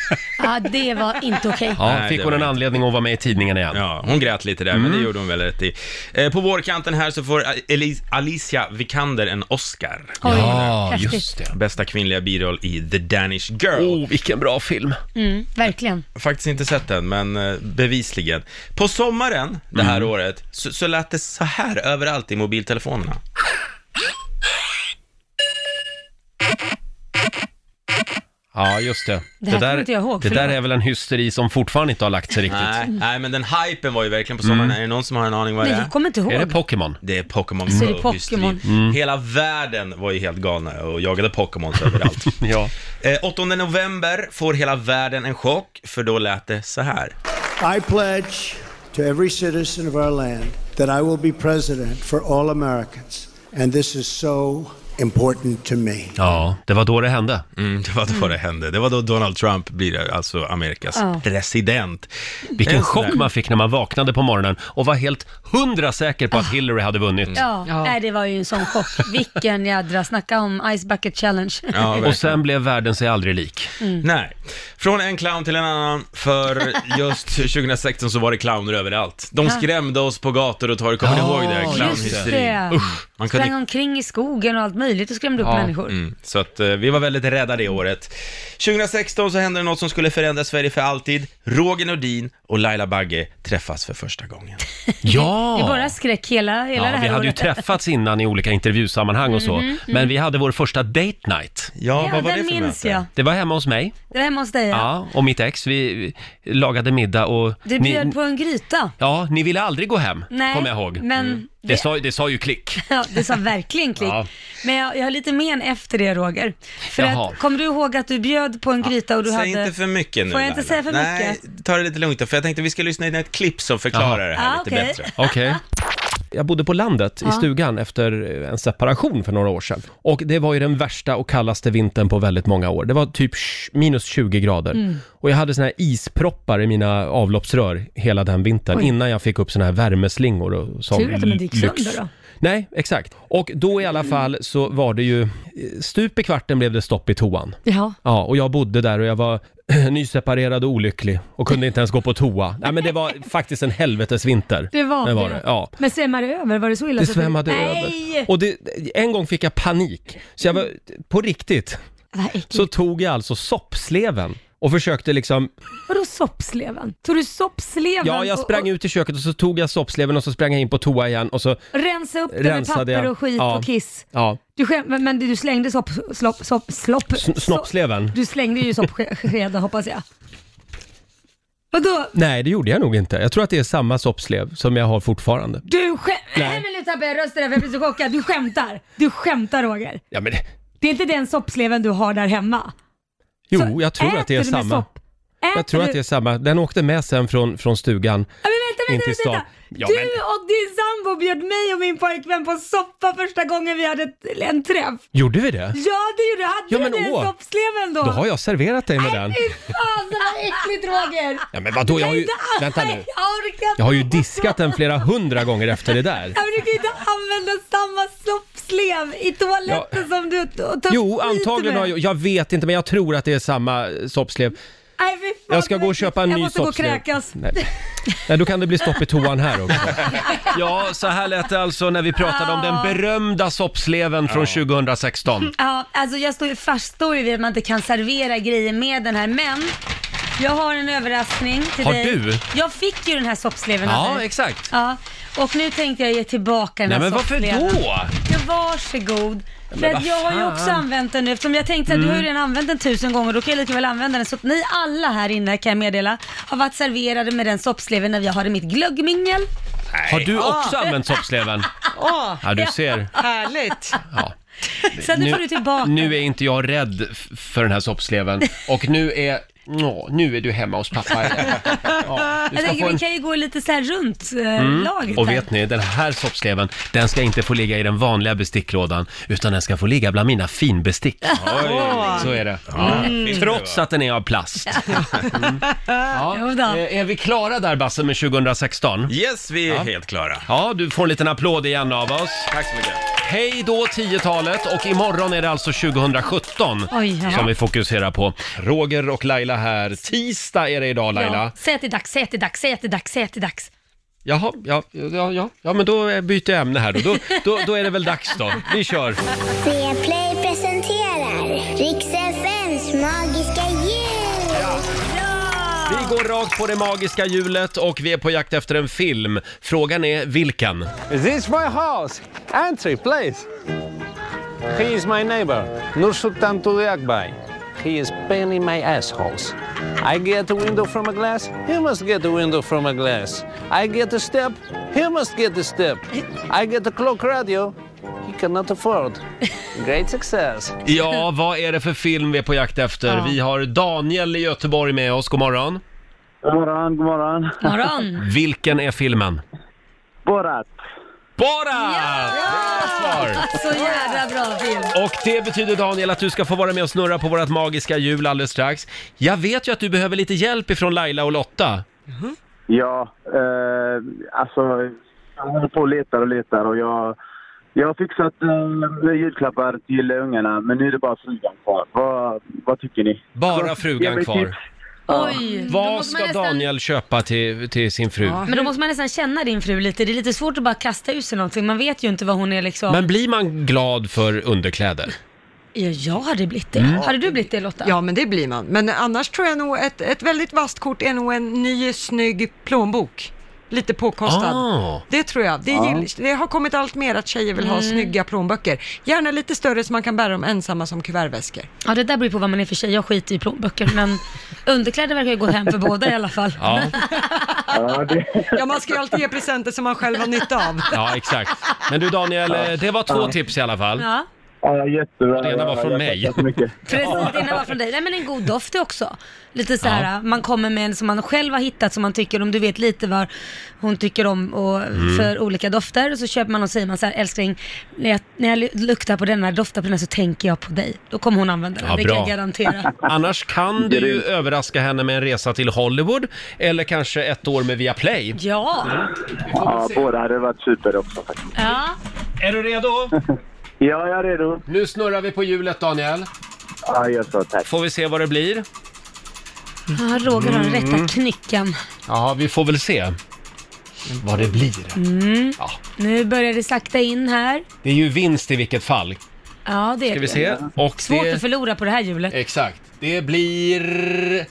S2: Ja, det var inte okej.
S1: Ja,
S9: Nej,
S1: fick
S9: det
S1: hon
S9: var
S1: en
S9: inte.
S1: anledning att vara med i tidningen igen?
S9: Ja, hon grät lite där,
S1: Mm.
S9: men det gjorde hon väl rätt i. Eh, på vårkanten här så får Elis- Alicia Vikander en Oscar.
S2: Oj,
S1: Ja,
S2: häftigt.
S1: just det.
S9: Bästa kvinnliga biroll i The Danish Girl.
S1: Oh, vilken bra film.
S2: Mm, verkligen.
S9: Faktiskt inte sett den, men eh, bevisligen. På sommaren det här
S1: Mm.
S9: året så, så lät det så här överallt i mobiltelefonerna.
S1: Ja, just det.
S2: Det här kommer inte jag ihåg,
S1: det där
S2: förlåt.
S1: är väl en hysteri som fortfarande inte har lagt sig riktigt.
S9: Nej, nej, men den hypen var ju verkligen på sommaren. Är det någon som har en aning vad
S2: Nej,
S9: det är?
S2: jag kommer inte ihåg.
S1: Är det Pokémon?
S9: Det är Pokémon
S2: Så är Alltså, det
S9: Go, just
S2: Pokémon.
S9: Hela världen var ju helt galna och jagade Pokémon överallt.
S1: Ja.
S9: eh, 8 november får hela världen en chock, för då lät det så här.
S10: I pledge to every citizen of our land that I will be president for all Americans, and this is so important to me.
S1: Ja, det var då det hände.
S9: Mm, det var då det hände. Det var då Donald Trump blir alltså Amerikas
S2: Ja.
S9: president.
S1: Vilken
S9: En sån
S1: chock
S9: där-
S1: man fick när man vaknade på morgonen och var helt hundra säker på att Hillary hade vunnit.
S2: Ah. Ja,
S3: Ja.
S2: Nej, det var ju en sån chock. Vilken jädra, snacka om Ice Bucket Challenge.
S9: Ja, verkligen.
S1: Och sen blev världen sig aldrig lik.
S2: Mm.
S9: Nej. Från en clown till en annan, för just 2016 så var det clowner överallt. De skrämde oss på gator och torg, kommer ni
S1: Ja,
S9: ihåg det?
S2: Just
S9: Clownhysteri.
S2: det.
S9: Man
S2: Sprang
S9: kunde...
S2: omkring i skogen och allt möjligt och skrämde upp
S1: Ja.
S2: människor.
S9: Mm, så att eh, vi var väldigt rädda det året. 2016 så hände det något som skulle förändra Sverige för alltid. Roger Nordin och Laila Bagge träffas för första gången.
S1: Ja!
S2: Det är bara skräck hela, hela det
S1: Ja,
S2: här
S1: vi hade ju
S2: året. Mhm, mm.
S1: träffats innan i olika intervjusammanhang och så, men vi hade vår första date night.
S9: Ja,
S2: Ja,
S9: vad var
S2: den
S9: det för
S2: minns
S9: möte?
S2: jag.
S1: Det var hemma hos mig,
S2: Det var hemma hos dig, ja.
S1: ja, och mitt ex, vi vi lagade middag och...
S2: Du
S1: ni-
S2: bjöd på en gryta.
S1: Ja, ni ville aldrig gå hem,
S2: Nej,
S1: kommer jag ihåg.
S2: men
S1: det...
S2: det-
S1: sa, det sa ju klick.
S2: Ja, det sa verkligen klick.
S1: Ja.
S2: Men jag, jag har lite men efter det Roger. För
S1: Jaha.
S2: att, kommer du ihåg att du bjöd på en gryta och du
S9: Säg
S2: hade...
S9: inte för mycket nu
S2: Får jag inte
S9: Laila.
S2: säga för
S9: Nej,
S2: mycket?
S9: ta det lite lugnt då, för jag tänkte vi ska lyssna in ett klipp som förklarar
S1: Jaha.
S9: det här
S2: Ah,
S9: lite
S2: okej.
S9: bättre.
S1: Okej. Jag bodde på landet i
S2: Ja.
S1: stugan efter en separation för några år sedan. Och det var ju den värsta och kallaste vintern på väldigt många år. Det var typ sh- minus 20 grader.
S2: Mm.
S1: Och jag hade såna här isproppar i mina avloppsrör hela den vintern innan jag fick upp såna här värmeslingor och sån
S2: Tur att de inte gick
S1: Mm, lyx.
S2: sönder då.
S1: Nej, exakt. Och då i alla fall så var det ju, eh, stup i kvarten blev det stopp i toan.
S2: Ja.
S1: Ja, och jag bodde där och jag var nyseparerad och olycklig och kunde inte ens gå på toa. Nej, men det var faktiskt en helvetesvinter.
S2: Det var det.
S1: det. Ja.
S2: Men svämmade det över? Var det så illa?
S1: Det
S2: så att du-
S1: svämmade
S2: Alltså, Nej!
S1: över. Och det, en gång fick jag panik. Så jag var, på riktigt,
S2: Vad äckligt.
S1: så tog jag alltså soppsleven och försökte liksom,
S2: Vadå soppsleven? Tog du soppsleven
S1: ja jag sprang
S2: och,
S1: ut i köket och så tog jag soppsleven och så sprang jag in på toa igen och så,
S2: och rensa upp det med
S1: Rensade
S2: papper
S1: jag.
S2: och skit
S1: Ja.
S2: och kiss?
S1: ja,
S2: Du skäm, men, men du slängde sopp... Slopp, sopp, slopp,
S1: sn- snoppsleven.
S2: sopp- Du slängde ju soppskeden hoppas jag. Vadå?
S1: Nej, det gjorde jag nog inte. Jag tror att det är samma soppslev som jag har fortfarande.
S2: Du skämtar?
S1: Nej.
S2: Nej men nu tappade jag rösten där för jag blir så chockad. Du skämtar? Du skämtar Roger?
S1: Ja, men,
S2: Det är inte den soppsleven du har där hemma?
S1: jo,
S2: Så
S1: jag tror
S2: äter
S1: att det är
S2: du med
S1: samma.
S2: Sopp? Äter
S1: Jag tror
S2: du?
S1: att det är samma. Den åkte med sen från, från stugan.
S2: Ja, men vänta, vänta,
S1: in till
S2: vänta,
S1: stan.
S2: vänta.
S1: Ja,
S2: du
S1: men,
S2: och din sambo bjöd mig och min pojkvän på soppa första gången vi hade ett, en träff.
S1: gjorde vi det?
S2: Ja, det gjorde du. Hade
S1: Ja,
S2: du
S1: men
S2: den
S1: åh.
S2: soppsleven då?
S1: Då har jag serverat dig med den.
S2: Nej, fy fan, det var äckligt Roger.
S1: Ja, men vadå,
S2: Du
S1: jag
S2: kan
S1: har ju...
S2: inte använda-
S1: Vänta nu.
S2: Jag orkar inte.
S1: Jag har ju diskat den flera hundra gånger efter det där.
S2: Ja, men du kan ju inte använda samma soppslev i toaletten som du och ta
S1: Jo,
S2: skit
S1: antagligen
S2: med.
S1: har jag... Jag vet inte, men jag tror att det är samma soppslev.
S2: Nej, fy fan,
S1: Jag ska
S2: det var
S1: gå och köpa en
S2: äckligt.
S1: ny
S2: Jag
S1: soppslev.
S2: måste gå och kräkas.
S1: Nej. Nej, då kan det bli stopp i toan här också. Ja, så här lät det alltså när vi pratade om den berömda soppsleven från 2016.
S2: Ja, alltså jag står ju fast står ju vid att man inte kan servera grejer med den här, men jag har en överraskning till
S1: Har
S2: dig.
S1: du?
S2: Jag fick ju den här soppsleven av
S1: Ja,
S2: dig.
S1: exakt.
S2: Ja, och nu tänkte jag ge tillbaka den
S1: Nej,
S2: här
S1: men varför
S2: soppsleven.
S1: då?
S2: Ja, varsågod. För att
S1: vad
S2: jag har ju
S1: fan. Mm.
S2: också använt den nu eftersom jag tänkte att du har ju redan använt den tusen gånger då kan jag lika väl använda den. Så att ni alla här inne kan jag meddela har varit serverade med den soppsleven när jag hade mitt glöggmingel.
S1: Har du också använt soppsleven?
S3: Åh,
S1: Ja, du ser.
S3: härligt.
S1: Ja.
S2: Så att nu, får du tillbaka.
S1: nu är inte jag rädd f- för den här soppsleven och nu är, nå, nu är du hemma hos pappa. Ja, du
S2: jag
S1: ska
S2: tänker
S1: få en...
S2: vi kan ju gå lite så här runt eh, laget
S1: Mm. Och
S2: här.
S1: vet ni, den här soppsleven, den ska inte få ligga i den vanliga besticklådan, utan den ska få ligga bland mina finbestick. Så är det.
S2: Mm.
S9: Finns det,
S1: Trots
S9: va?
S1: att den är av plast. Mm.
S2: Jo
S1: Ja.
S2: då.
S1: Eh, Är vi klara där Basse med 2016?
S9: Yes, vi är helt klara.
S1: Ja, du får en liten applåd igen av oss.
S9: Tack så mycket.
S1: Hej då 10-talet och imorgon är det alltså 2017
S2: Oj, ja.
S1: som vi fokuserar på. Roger och Laila här. Tisdag är det idag Laila.
S2: Ja. Säg att det är dags, säg att det är dags, säg att det är dags, säg att det är dags.
S1: Jaha, ja, ja, ja, ja, men då byter jag ämne här då. Då, då. då är det väl dags då. Vi kör.
S5: Play presenterar Rix FMs magiska jul!
S1: Vi går rakt på det magiska hjulet och vi är på jakt efter en film. Frågan är vilken?
S11: Is this my house? Entry, please. He is my neighbor, Nursultan Tudiakbay. He is pain in my assholes. I get a window from a glass, he must get a window from a glass. I get a step, he must get a step. I get a clock radio, he cannot afford. Great success.
S1: Ja, vad är det för film vi är på jakt efter? Vi har Daniel i Göteborg med oss. God morgon.
S11: Good morning, good morning.
S2: Morgon.
S1: Vilken är filmen?
S11: Borat.
S1: Borat! Bra svar!
S2: Så jävla bra film.
S1: Och det betyder Daniel att du ska få vara med och snurra på vårt magiska hjul alldeles strax. Jag vet ju att du behöver lite hjälp ifrån Laila och Lotta.
S11: Mm-hmm. Ja, eh, alltså jag håller på och letar och letar och jag, jag har fixat eh, julklappar till ungarna men nu är det bara frugan kvar. Vad, vad tycker ni? Alltså,
S1: Bara
S11: Ge
S1: frugan
S11: mig
S1: kvar.
S11: tips.
S2: Oj. då
S1: Vad
S2: måste
S1: ska
S2: man nästan-
S1: Daniel köpa till, till sin fru?
S3: Ja.
S2: Men då måste man nästan känna din fru lite. Det är lite svårt att bara kasta ut sig någonting. Man vet ju inte vad hon är liksom.
S1: Men blir man glad för underkläder?
S2: Ja, jag hade blivit
S1: Mm.
S2: det. Hade du blivit det Lotta?
S3: Ja, men det blir man. Men annars tror jag nog ett, ett väldigt vasst kort är nog en ny snygg plånbok. Lite påkostad.
S1: Ah.
S3: Det tror jag. Det, gill, det har kommit allt mer att tjejer vill
S1: Mm.
S3: ha snygga plånböcker. Gärna lite större så man kan bära dem ensamma som kuvertväskor.
S2: Ja, det där beror på vad man är för tjej. Jag skiter i plånböcker, men underkläder verkar ju gå hem för båda i alla fall.
S1: Ja,
S11: Ja, det,
S3: Ja, man ska ju alltid ge presenter som man själv har nytta av.
S1: ja exakt. Men du Daniel, eh, det var två tips i alla fall.
S2: Ja,
S11: ja, jättebra.
S1: Det ena var från
S11: Ja, jag
S1: mig.
S11: tackar så mycket.
S2: precis. Det ena var från dig. Nej, men en god doft är också. Lite så här, man kommer med en som man själv har hittat som man tycker om. Du vet lite vad hon tycker om och
S1: Mm.
S2: för olika dofter. Och så köper man och säger man så här, älskling, när jag, när jag luktar på den här, doftar på den här så tänker jag på dig. Då kommer hon använda den,
S1: Ja,
S2: det
S1: bra.
S2: kan jag garantera.
S1: Annars kan du ju överraska henne med en resa till Hollywood eller kanske ett år med Viaplay.
S2: Ja,
S11: Ja, båda hade varit super också faktiskt.
S2: ja.
S1: Är du redo?
S11: Ja, jag är redo.
S1: Nu snurrar vi på hjulet Daniel.
S11: Ja, jag så, tack.
S1: Får vi se vad det blir?
S2: ja Roger har den
S1: Mm.
S2: rätta knycken.
S1: Ja, vi får väl se vad det blir.
S2: Nu börjar det sakta in här.
S1: Det är ju vinst i vilket fall.
S2: Ja, det är
S1: Ska vi
S2: det.
S1: se? Och
S2: Svårt att
S1: det... Eh.
S2: förlora på det här hjulet.
S1: Exakt. Det blir...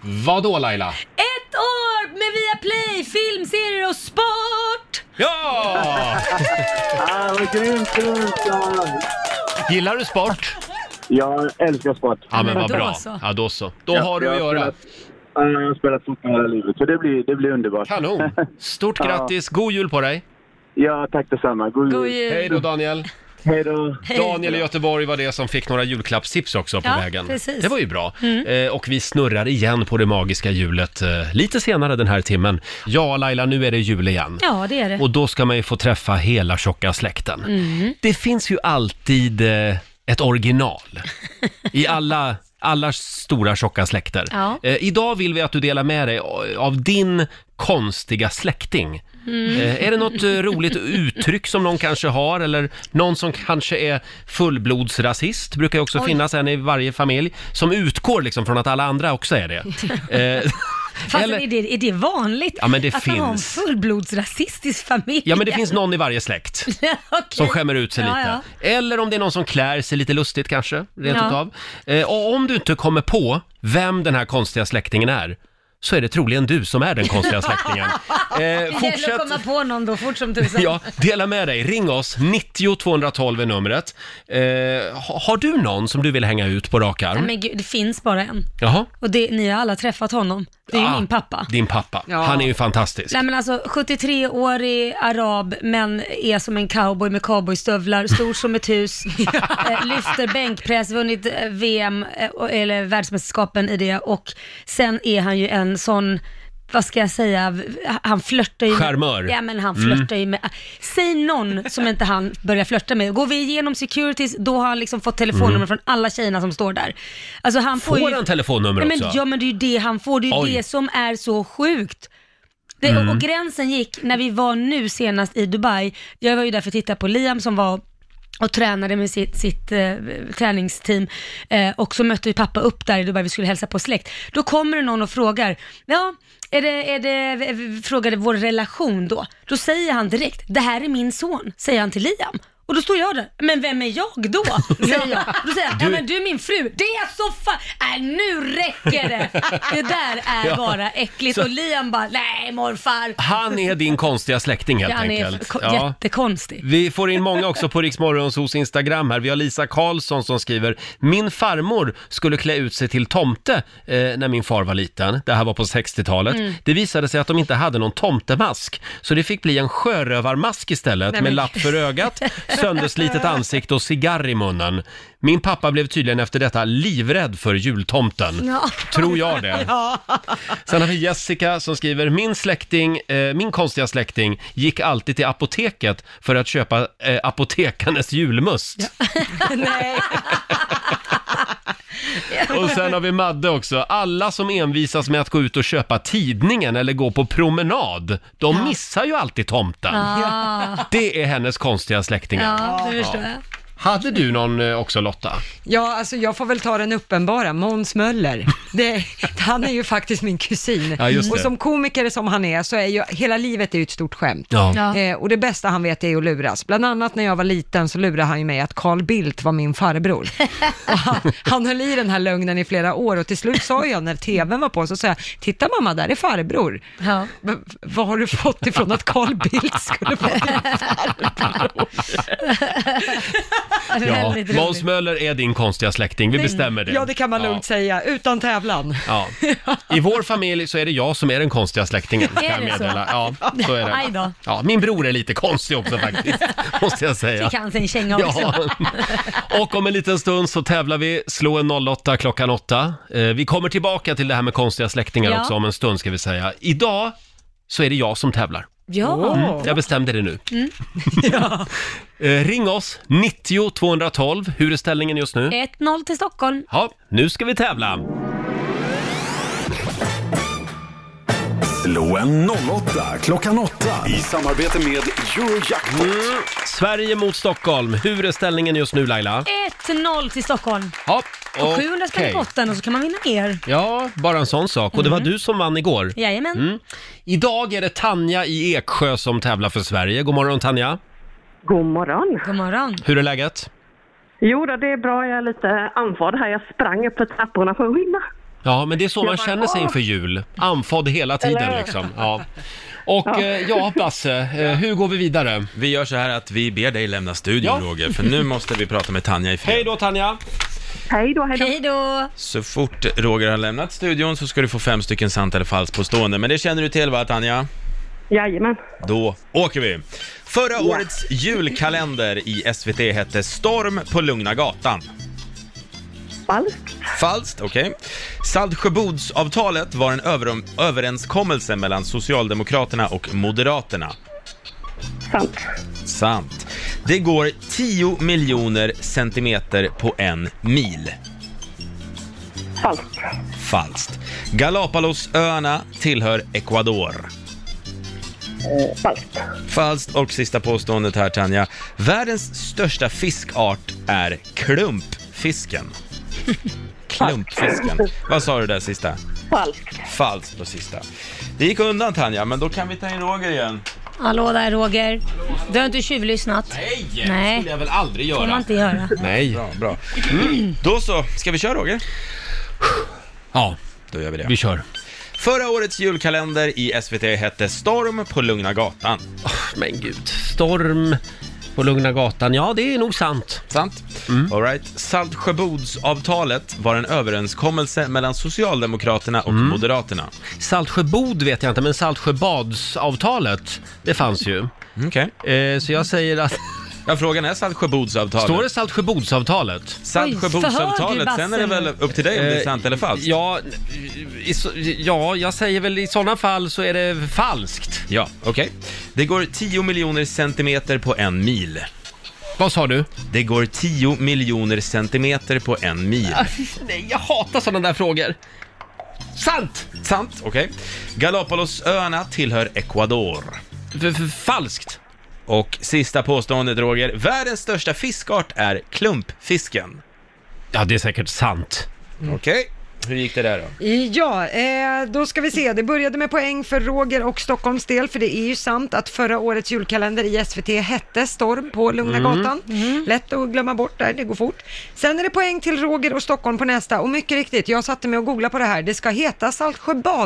S1: Vad då Laila?
S2: Ett år med Viaplay, film, serier och sport!
S1: Ja!
S11: Ah, vad grymt, grymt! ja.
S1: Gillar du sport?
S11: Jag älskar sport.
S1: Ja, men
S2: men
S1: vad
S2: då
S1: bra.
S2: så.
S1: Ja, då så. Då
S11: Ja,
S1: har du att
S11: jag har
S1: göra.
S11: spelat- Ja, Jag har spelat fotboll hela livet, så det blir, det blir underbart.
S1: Kanon! Stort grattis! God jul på dig!
S11: Ja, tack detsamma. God jul.
S2: God jul.
S1: Hej då Daniel! Hej då. Daniel i Göteborg var det som fick några julklappstips också på
S2: Ja,
S1: vägen.
S2: precis. Mm.
S1: Det var ju bra. Eh, och vi snurrar igen på det magiska hjulet eh, lite senare den här timmen. Ja, Laila, nu är det jul igen.
S2: Ja, det är det.
S1: Och då ska man ju få träffa hela tjocka släkten.
S2: Mm.
S1: Det finns ju alltid eh, ett original i alla, alla stora tjocka släkter.
S2: Ja.
S1: Eh, idag vill vi att du delar med dig av din konstiga släkting.
S2: Mm.
S1: Eh, är det något eh, roligt uttryck som någon kanske har eller någon som kanske är fullblodsrasist, brukar ju också
S2: Oj.
S1: finnas en i varje familj, som utgår liksom från att alla andra också är det. Eh,
S2: Fast
S1: eller-
S2: är, det, är det vanligt
S1: Ja, men det
S2: att man har en
S1: finns.
S2: fullblodsrasistisk familj?
S1: ja men det finns någon i varje släkt. Som skämmer ut sig
S2: Ja,
S1: lite. Eller om det är någon som klär sig lite lustigt kanske, rent
S2: Ja.
S1: utav. Eh, och om du inte kommer på vem den här konstiga släktingen är, så är det troligen du som är den konstiga släktingen. Eh,
S2: Det gäller
S1: fortsätt,
S2: att komma på någon då fort som tusan.
S1: ja, dela med dig, ring oss, 90 212 är numret. Eh, ha- har du någon som du vill hänga ut på rak
S2: Nej,
S1: arm?
S2: men gud, det finns bara en.
S1: Jaha,
S2: Och det, ni har alla träffat honom. Det är ju
S1: Ah.
S2: min pappa.
S1: din pappa.
S2: Ja.
S1: Han är ju fantastisk.
S2: Nej men alltså 73-årig arab men är som en cowboy med cowboystövlar, stor som ett hus, eh, lyfter bänkpress, vunnit eh, VM eh, och- eller världsmästerskapen i det och sen är han ju en sån vad ska jag säga, v- han flörtar ju
S1: Charmör.
S2: Med, ja men han
S1: Mm.
S2: flörtar ju med, säg någon som inte han börjar flörta med. Går vi igenom securities, då har han liksom fått telefonnummer
S1: Mm.
S2: från alla tjejerna som står där. Alltså han får,
S1: Får
S2: ju...
S1: han telefonnummer
S2: Nej, men,
S1: också?
S2: Ja men det är ju det han får, det är
S1: Oj.
S2: ju det som är så sjukt. Det, och-
S1: Mm.
S2: Och gränsen gick när vi var nu senast i Dubai. Jag var ju där för att titta på Liam som var och tränade med sitt, sitt eh, träningsteam. Eh, och så mötte vi pappa upp där i Dubai, vi skulle hälsa på släkt. Då kommer det någon och frågar, ja, är det, är det, v- frågade vår relation då. Då säger han direkt, det här är min son, säger han till Liam. Och då står jag där, men vem är jag då? Säger jag. Då säger han, ja
S1: Du-
S2: men du är min fru, det är så fan, nej nu räcker det. Det där är
S1: Ja.
S2: bara äckligt.
S1: Så-
S2: Och Liam bara, nej morfar.
S1: Han är din konstiga släkting helt
S2: Ja, han är
S1: enkelt.
S2: ko-
S1: Ja.
S2: jättekonstig.
S1: Vi får in många också på Riksmorgonsos Instagram här. Vi har Lisa Karlsson som skriver “Min farmor skulle klä ut sig till tomte eh, när min far var liten. Det här var på 60-talet.
S9: Mm.
S1: Det visade sig att de inte hade någon tomtemask, så det fick bli en sjörövarmask istället
S9: Nej,
S1: med
S9: men-
S1: lapp för ögat, sönderslitet ansikte och cigarr i munnen. Min pappa blev tydligen efter detta livrädd för jultomten.
S2: Ja.
S1: Tror jag det. Sen har vi Jessica som skriver, min släkting, eh, min konstiga släkting gick alltid till apoteket för att köpa eh, apotekarnes julmust.
S2: Nej.
S1: Och sen har vi Madde också, alla som envisas med att gå ut och köpa tidningen eller gå på promenad, de missar ju alltid tomten.
S3: Ah. Ja.
S1: Det är hennes konstiga släktingar.
S3: Ja, det förstår jag.
S1: Hade du någon eh, också Lotta?
S3: Ja, alltså jag får väl ta den uppenbara, Måns Möller. Det, han är ju faktiskt min kusin.
S1: Ja, just det.
S3: och som komiker som han är så är ju hela livet är ju ett stort skämt.
S1: Ja. Ja.
S3: Eh, och det bästa han vet är att luras. Bland annat när jag var liten så lurade han ju mig att Carl Bildt var min farbror. Och han, han höll i den här lögnen i flera år och till slut sa jag när tvn var på så sa jag, titta mamma där är farbror.
S2: Ja.
S3: Vad har du fått ifrån att Carl Bildt skulle vara din farbror?
S1: Ja, Måns Möller är din konstiga släkting, vi bestämmer det.
S3: Ja, det kan man lugnt säga, utan tävlan.
S1: Ja. I vår familj så är det jag som är den konstiga släktingen.
S3: Är
S1: Kan jag
S3: det så?
S1: meddela. Ja, så är det.
S2: Aj då.
S1: Ja, min bror är lite konstig också faktiskt, måste jag säga.
S2: Fick han sin känga också.
S1: Ja. Och om en liten stund så tävlar vi, slå en 08 klockan 8. Eh, Vi kommer tillbaka till det här med konstiga släktingar
S2: Ja.
S1: också om en stund ska vi säga. Idag så är det jag som tävlar.
S2: Ja.
S1: Mm, jag bestämde det nu. Eh, Ring oss, 90 212. Hur är ställningen just
S2: Eh.
S1: nu?
S2: 1-0 till Stockholm.
S1: Ja, nu ska vi tävla.
S12: Slå en 08 klockan 8 i samarbete med Eurojackpot.
S1: Sverige mot Stockholm. Hur är ställningen just nu Laila?
S2: 1-0 till Stockholm.
S1: Ja,
S2: Och 700 spänn i
S1: okej.
S2: botten och så kan man vinna mer.
S1: Ja, bara en sån sak. Och det var du som vann igår.
S2: Jajamän.
S1: Mm. Idag är det Tanja i Eksjö som tävlar för Sverige. God morgon Tanja!
S13: God morgon.
S2: God morgon.
S1: Hur är läget?
S13: Jo då, det är bra. Jag är lite andfådd här. Jag sprang upp för trapporna för att vinna.
S1: Ja, men det är så
S13: Jag
S1: man
S13: bara,
S1: känner sig
S13: "Åh!"
S1: inför jul. Andfådd hela tiden
S13: Eller hur?
S1: liksom. Ja. Och
S13: Ja.
S1: ja, ja Basse, eh, hur går vi vidare?
S9: Vi gör så här att vi ber dig lämna studion
S1: Ja.
S9: Roger, för nu måste vi prata med Tanja i fred.
S1: Hej då Tanja!
S13: Hej då, hej då.
S2: Hej då.
S9: Så fort Roger har lämnat studion så ska du få fem stycken sant eller falskt påstående, men det känner du till va Tanja?
S13: Jajamän.
S9: Då åker vi! Förra årets julkalender i SVT hette Storm på Lugna Gatan.
S13: Falskt.
S9: Falskt, okej. Saltsjöbodsavtalet var en överom- överenskommelse mellan Socialdemokraterna och Moderaterna.
S13: Sant.
S9: Sant. Det går 10 miljoner centimeter på en mil.
S13: Falskt.
S9: Falskt. Galapagosöarna tillhör Ecuador.
S13: Eh, falskt.
S9: Falskt. Och sista påståendet här Tanja. Världens största fiskart är klumpfisken. Klumpfisken. Vad sa du där sista?
S13: Falskt.
S9: Falskt på sista. Det gick undan Tanja, men då kan vi ta in Roger igen.
S14: Hallå där Roger. Du har inte tjuvlyssnat? Nej,
S9: Det skulle jag väl aldrig göra.
S14: får man inte göra.
S1: Nej.
S9: Bra, bra. Mm. Då så, ska vi köra Roger?
S1: Ja,
S9: då gör vi det.
S1: Vi kör.
S9: Förra årets julkalender i SVT hette Storm på Lugna Gatan.
S1: men gud, storm på Lugna Gatan, ja det är nog sant.
S9: Sant? All right. Saltsjöbodsavtalet var en överenskommelse mellan Socialdemokraterna och Moderaterna.
S1: Saltsjöbod vet jag inte, men Saltsjöbadsavtalet, det fanns ju.
S9: Okej.
S1: Eh, så jag säger att...
S9: Ja, frågan är Saltsjöbodsavtalet.
S1: Står det Saltsjöbodsavtalet?
S9: Saltsjöbodsavtalet, sen är det väl upp till dig om det är
S1: Eh,
S9: sant eller falskt?
S1: Ja, i så- ja, jag säger väl i sådana fall så är det falskt.
S9: Ja, okej. Det går 10 miljoner centimeter på en mil.
S1: Vad sa du?
S9: Det går 10 miljoner centimeter på en mil.
S1: Nej, jag hatar sådana där frågor. Sant!
S9: Sant, okej. Galapagosöarna tillhör Ecuador.
S1: falskt.
S9: Och sista påståendet Roger, världens största fiskart är klumpfisken.
S1: Ja, det är säkert sant.
S9: Okej, hur gick det där då?
S3: Ja, eh, då ska vi se. Det började med poäng för Roger och Stockholms del, för det är ju sant att förra årets julkalender i SVT hette Storm på Lugna
S14: Mm.
S3: gatan. Lätt att glömma bort där, det går fort. Sen är det poäng till Roger och Stockholm på nästa, och mycket riktigt, jag satte mig och googlade på det här. Det ska heta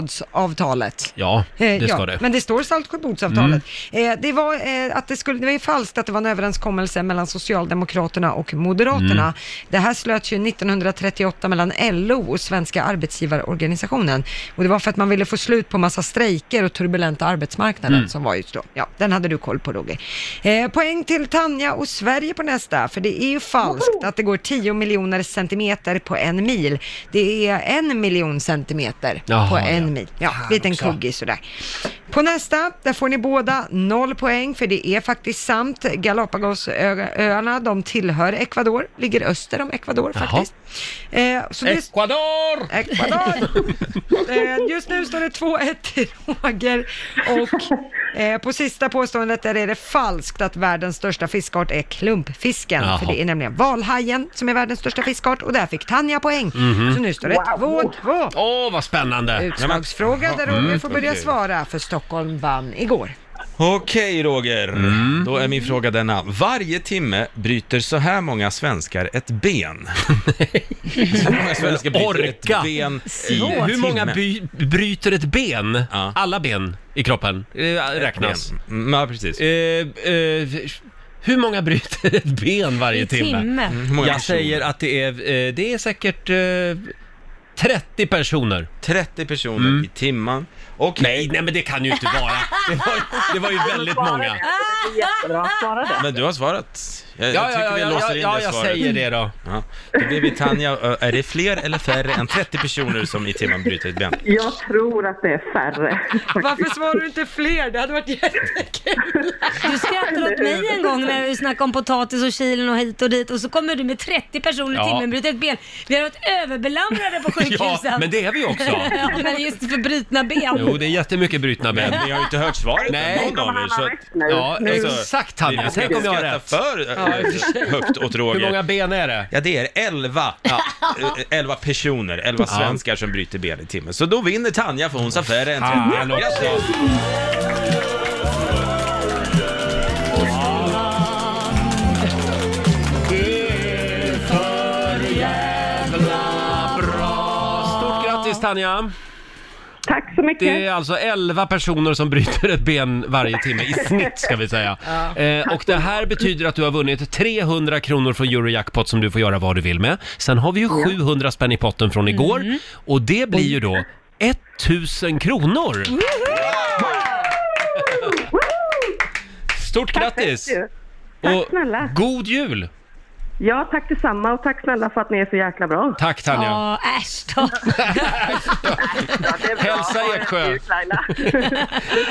S3: Saltsjöbadsavtalet.
S1: Ja,
S3: Eh,
S1: det
S3: ja,
S1: ska det.
S3: Men det står Saltsjöbodsavtalet. Eh, det, var, eh, att det, skulle, det var ju falskt att det var en överenskommelse mellan Socialdemokraterna och Moderaterna.
S14: Mm.
S3: Det här slöts ju 1938 mellan LO och Svenska arbetsgivarorganisationen. Och det var för att man ville få slut på massa strejker och turbulenta arbetsmarknaden
S14: Mm.
S3: som var just då. Ja, den hade du koll på Roger. Eh, poäng till Tanja och Sverige på nästa, för det är ju falskt att det går 10 miljoner centimeter på en mil. Det är en miljon centimeter
S14: Jaha,
S3: på en
S14: ja.
S3: mil. Ja, liten
S14: också.
S3: kuggis sådär. På nästa, där får ni båda noll poäng, för det är faktiskt sant. Galapagosöarna, de tillhör Ecuador, ligger öster om Ecuador
S14: Jaha.
S3: faktiskt. Eh, så det-
S1: Ecuador!
S3: Ecuador! Eh, Just nu står det 2-1 till Roger och eh, på sista påståendet där är det falskt att världens största fiskart är klumpfisken.
S14: Jaha.
S3: För det är nämligen valhajen som är världens största fiskart och där fick Tanja poäng.
S1: Mhm.
S3: Så nu står det 2-2.
S1: Åh, vad spännande!
S3: Eh, Utslagsfråga där Roger
S1: Mm.
S3: får börja
S9: okej.
S3: svara, för Stockholm vann igår.
S9: Okej Roger,
S1: Mm.
S9: då är min fråga denna. Varje timme bryter så här många svenskar ett ben. så många svenskar bryter
S1: Orka!
S9: ett ben i
S1: Hur hur många by, bryter ett ben? Alla ben i kroppen eh, räknas.
S9: Ja, precis.
S1: Eh, hur många bryter ett ben varje
S14: I
S1: timme?
S14: timme. Mm, hur många
S1: Jag
S14: personer?
S1: säger att det är, eh, det är säkert eh, 30 personer.
S9: 30 personer i timman. Och
S1: Mm. nej, nej, men det kan ju inte vara. Det var, det var ju väldigt många.
S13: Det blir jättebra. Svara det.
S9: Men du har svarat. Jag,
S1: Ja,
S9: jag tycker
S1: ja,
S9: vi
S1: ja,
S9: låser
S1: ja,
S9: in
S1: ja,
S9: det
S1: jag
S9: svaret.
S1: säger det då.
S9: Ja. Då blir vi Tanja, ö, är det fler eller färre än 30 personer som i timmen bryter ett ben?
S13: Jag tror att det är färre.
S3: Varför svarar du inte fler? Det hade varit jättekul.
S14: Du skrattade åt mig en gång när vi snackade om potatis och Kilen och hit och dit och så kommer du med 30 personer i
S1: Ja.
S14: timmen bryter ett ben. Vi har varit överbelamrade på sjukhusen.
S1: Ja, men det är vi också.
S14: ja, men just för brutna ben.
S1: Jo, det är jättemycket brutna ben.
S9: Men ni har ju inte hört svaret
S1: Nej.
S9: än, någon av er. Så att,
S1: nu. Ja, exakt, Tanja.
S9: vi ska
S1: Tänk om jag har
S9: inte
S1: rätt.
S9: skratta för
S1: Ja, i och för sig.
S9: eh, högt åt Roger.
S1: Hur många ben är det?
S9: Ja, det är 11. eh, 11 personer, 11
S1: Ja.
S9: svenskar som bryter ben i timmen. Så då vinner Tanja för hon sa färre än 30.
S1: Fan också.
S9: Grattis!
S1: Stort grattis Tanja!
S13: Tack så mycket.
S1: Det är alltså 11 personer som bryter ett ben varje timme i snitt ska vi säga.
S13: Ja.
S1: Eh, och det här betyder att du har vunnit 300 kronor från Eurojackpot som du får göra vad du vill med. Sen har vi ju 700 spänn i potten från igår
S13: Mm. Mm.
S1: och det blir ju då 1000 kronor! Stort
S13: Tack så
S1: grattis!
S13: mycket. Tack
S1: Och
S13: snälla.
S1: God jul!
S13: Ja, tack detsamma och tack snälla för att ni är så jäkla bra.
S1: Tack Tanja!
S13: äsch då.
S1: Hälsa Eksjö!
S13: det ska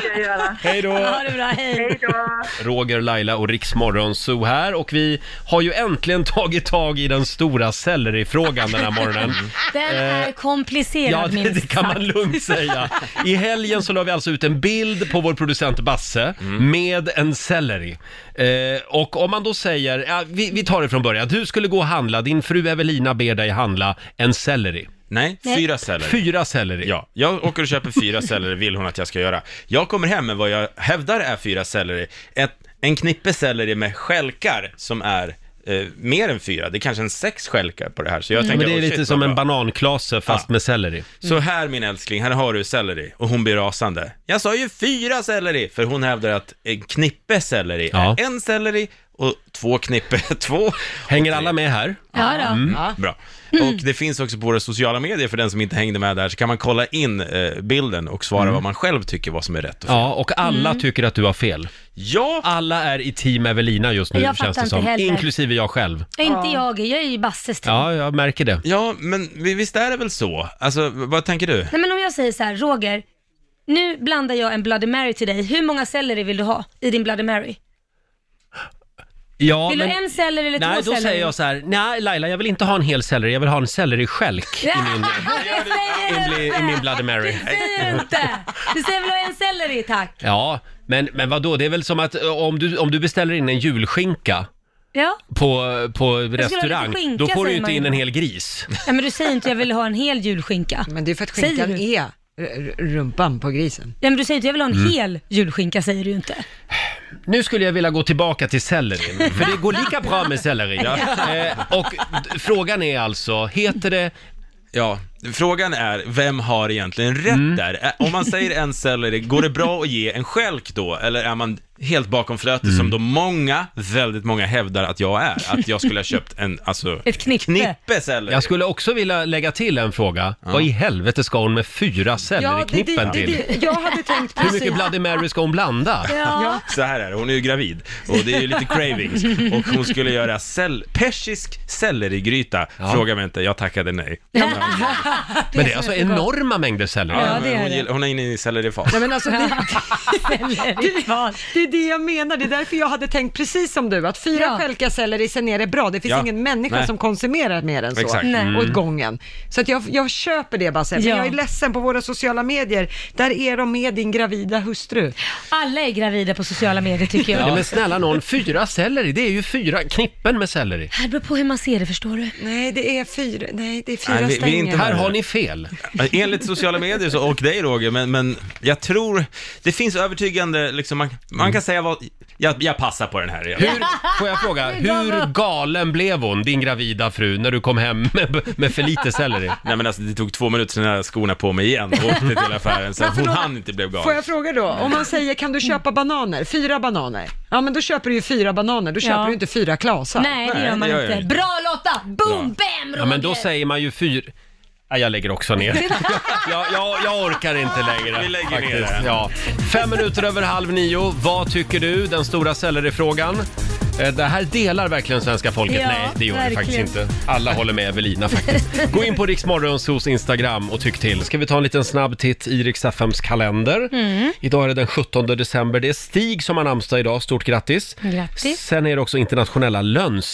S13: jag göra.
S1: Hej då. Ha
S13: det bra, hej. Hej då.
S1: Roger, Laila och Riksmorgon Zoo här och vi har ju äntligen tagit tag i den stora sellerifrågan den här morgonen.
S14: Den
S1: Eh,
S14: är komplicerad
S1: Ja, det,
S14: minst
S1: det kan man
S14: sagt.
S1: lugnt säga. I helgen så la vi alltså ut en bild på vår producent Basse
S9: Mm.
S1: med en selleri. Eh, och om man då säger, ja, vi, vi tar det från början, du skulle gå och handla, din fru Evelina ber dig handla en selleri.
S9: Nej,
S1: Nej.
S9: fyra selleri.
S1: Fyra selleri.
S9: Ja, jag åker och köper fyra selleri, vill hon att jag ska göra. Jag kommer hem med vad jag hävdar är fyra selleri. Ett, en knippe selleri med skälkar som är eh, mer än fyra. Det är kanske en sex skälkar på det här. Så jag
S1: Men
S9: tänker,
S1: det är
S9: "Åh, shit,
S1: lite
S9: vad
S1: som
S9: bra."
S1: en bananklase fast med selleri.
S9: Så här min älskling, här har du selleri. Och hon blir rasande. Jag sa ju fyra selleri, för hon hävdar att en knippe selleri
S1: Ja.
S9: är en selleri och två knippe, två.
S1: Hänger alla med här?
S14: Ja då.
S9: Mm,
S14: Ja.
S9: Bra. Och det finns också på våra sociala medier, för den som inte hängde med där, så kan man kolla in eh, bilden och svara vad man själv tycker vad som är rätt och fel.
S1: Mm. Ja, och alla
S9: Mm.
S1: tycker att du har fel.
S9: Ja!
S1: Alla är i team Evelina just nu,
S14: Jag fattar
S1: känns det
S14: inte
S1: som.
S14: heller.
S1: Inklusive jag själv.
S14: Ja, Inte jag, jag är ju Basses typ. team.
S1: Ja, jag märker det.
S9: Ja, men vi- visst är det väl så? Alltså, v- vad tänker du?
S14: Nej men om jag säger så här, Roger, nu blandar jag en Bloody Mary till dig. Hur många selleri vill du ha i din Bloody Mary?
S1: Ja,
S14: vill
S1: men...
S14: du en selleri eller
S1: Nej,
S14: två
S1: då
S14: selleri?
S1: säger jag så här, nej Laila, jag vill inte ha en hel selleri, jag vill ha en selleri-stjälk i min, i, bli- i min Bloody Mary.
S14: Säger du inte? Du säger väl en selleri tack?
S1: Ja, men, men vadå, det är väl som att eh, om du, om du beställer in en julskinka
S14: Ja.
S1: på, på
S14: lite
S1: restaurang,
S14: skinka,
S1: då får du
S14: säger
S1: ju inte
S14: man
S1: in
S14: ju.
S1: en hel gris.
S14: ja. men du säger inte jag vill ha en hel julskinka. Men det är för att
S3: skinkan
S14: är
S3: Rumpan på grisen.
S14: Ja, men du säger inte jag vill ha en
S1: Mm.
S14: hel julskinka, säger du ju inte.
S1: Nu skulle jag vilja gå tillbaka till sellerin, för det går lika bra med selleri.
S14: Ja.
S1: Eh, och d- frågan är alltså, heter det...
S9: Ja, frågan är, vem har egentligen rätt där? Ä- Om man säger en selleri, går det bra att ge en skälk då? Eller är man helt bakom flötet som då många, väldigt många hävdar att jag är? Att jag skulle ha köpt en, alltså...
S14: Ett knippe.
S9: Knippe selleri.
S1: Jag skulle också vilja lägga till en fråga. Vad i helvete ska hon med fyra selleriknippen till?
S3: jag hade tänkt
S1: Hur
S14: Alltså,
S3: precis.
S1: mycket Bloody Mary ska hon blanda?
S3: Ja.
S9: Så här är det, hon är ju gravid och det är ju lite cravings och hon skulle göra sell- persisk sellerigryta. Fråga mig inte, jag tackade nej.
S1: Men det är alltså enorma mängder selleri.
S3: Ja, det är
S9: hon,
S3: det.
S9: gillar- hon är inne i sellerifas.
S3: Nej, men alltså, det, det, det är det jag menar, det är därför jag hade tänkt precis som du, att fyra stjälkar selleri, sen är det bra. Det finns
S9: Ja.
S3: ingen människa
S9: Nej.
S3: som konsumerar mer än så,
S9: Exakt. Nej.
S3: åt
S9: Mm.
S3: gången. Så att jag, jag köper det Basse, men
S14: Ja.
S3: jag är ledsen på våra sociala medier, där är de med din gravida hustru.
S14: Alla är gravida på sociala medier tycker jag.
S1: Ja, men snälla någon, fyra selleri, det är ju fyra knippen med selleri.
S14: Det här beror på hur man ser det förstår du.
S3: Nej, det är fyra, nej, det är fyra
S9: Nej, vi- vi är
S3: stänger.
S9: inte
S1: Här har ni fel.
S9: Enligt sociala medier så, och dig Roger, men, men jag tror, det finns övertygande, liksom, man, man
S3: Mm.
S9: kan säga vad, jag, jag passar på den här. Jag,
S1: Hur, får jag fråga, hur galen blev hon, din gravida fru, när du kom hem med, med för lite selleri?
S9: Nej men alltså det tog två minuter sen jag hade skorna på mig igen och åkte till affären så
S3: Men
S9: hon
S3: förlåt,
S9: hann inte bli galen.
S3: Får jag fråga då, om man säger kan du köpa bananer, fyra bananer? Ja men då köper du ju fyra bananer, då
S14: Ja.
S3: köper du inte fyra klasar.
S14: Nej, det gör man
S1: gör jag
S14: inte.
S1: inte.
S14: Bra Lotta! Boom, bam, Roger!
S1: Ja, men då säger man ju fyra... Nej, jag lägger också ner. Jag, jag, jag orkar inte längre.
S9: Vi lägger ner
S1: faktiskt.
S9: den.
S1: Ja. Fem minuter över halv nio. Vad tycker du? Den stora sellerifrågan. Eh, Det här delar verkligen svenska folket.
S14: Ja,
S1: Nej, det gör det faktiskt
S14: verkligen.
S1: inte. Alla håller med Evelina faktiskt. Gå in på Riksmorgonsos Instagram och tyck till. Ska vi ta en liten snabb titt i Rix FMs kalender?
S14: Mm.
S1: Idag är det den 17 december. Det är Stig som har namnsdag idag. Stort grattis.
S14: Grattis.
S1: Sen är det också internationella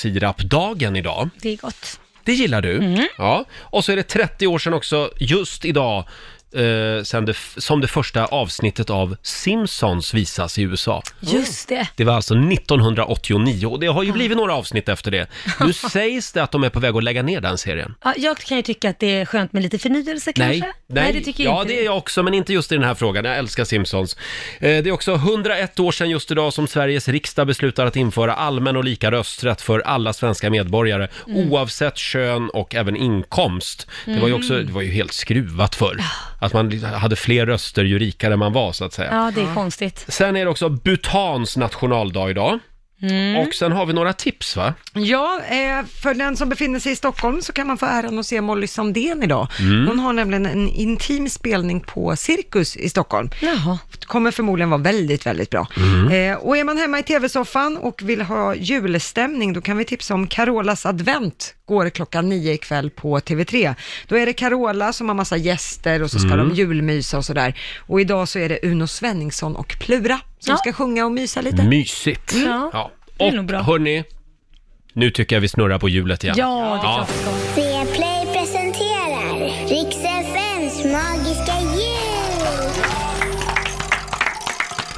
S1: lönnsirapdagen idag.
S14: Det är gott.
S1: Det gillar du?
S14: Mm.
S1: Ja. Och så är det 30 år sedan också, just idag, eh, sen det, f- som det första avsnittet av Simpsons visas i USA.
S14: Just det.
S1: Det var alltså 1989 och det har ju blivit några avsnitt efter det. Nu sägs det att de är på väg att lägga ner den serien.
S14: Ja, jag kan ju tycka att det är skönt med lite förnyelse
S1: Nej,
S14: kanske?
S1: nej,
S14: det tycker
S1: ja
S14: jag inte.
S1: det är jag också, men inte just i den här frågan. Jag älskar Simpsons. Eh, Det är också 101 år sedan just idag som Sveriges riksdag beslutar att införa allmän och lika rösträtt för alla svenska medborgare,
S14: Mm.
S1: oavsett kön och även inkomst. Det var ju också,
S14: Mm.
S1: det var ju helt skruvat förr. Att man hade fler röster ju rikare man var, så att säga.
S14: Ja, det är konstigt.
S1: Sen är det också Bhutans nationaldag idag.
S3: Mm.
S1: Och sen har vi några tips va?
S3: Ja, eh, för den som befinner sig i Stockholm så kan man få äran att se Molly Sandén idag.
S1: Mm.
S3: Hon har nämligen en intim spelning på Cirkus i Stockholm. Kommer förmodligen vara väldigt, väldigt bra.
S1: Mm.
S3: Eh, och är man hemma i tv-soffan och vill ha julstämning, då kan vi tipsa om Carolas advent, går klockan nio ikväll på TV3. Då är det Carola som har massa gäster och så ska
S2: Mm.
S3: de julmysa och sådär. Och idag så är det Uno Svenningsson och Plura som ska sjunga och mysa lite.
S1: Mysigt.
S3: Mm.
S1: Ja.
S3: Det är nog
S1: Och
S3: bra.
S1: hörni, nu tycker jag vi snurrar på hjulet igen.
S15: Ja, det är klart Play presenterar Rix FMs magiska jul!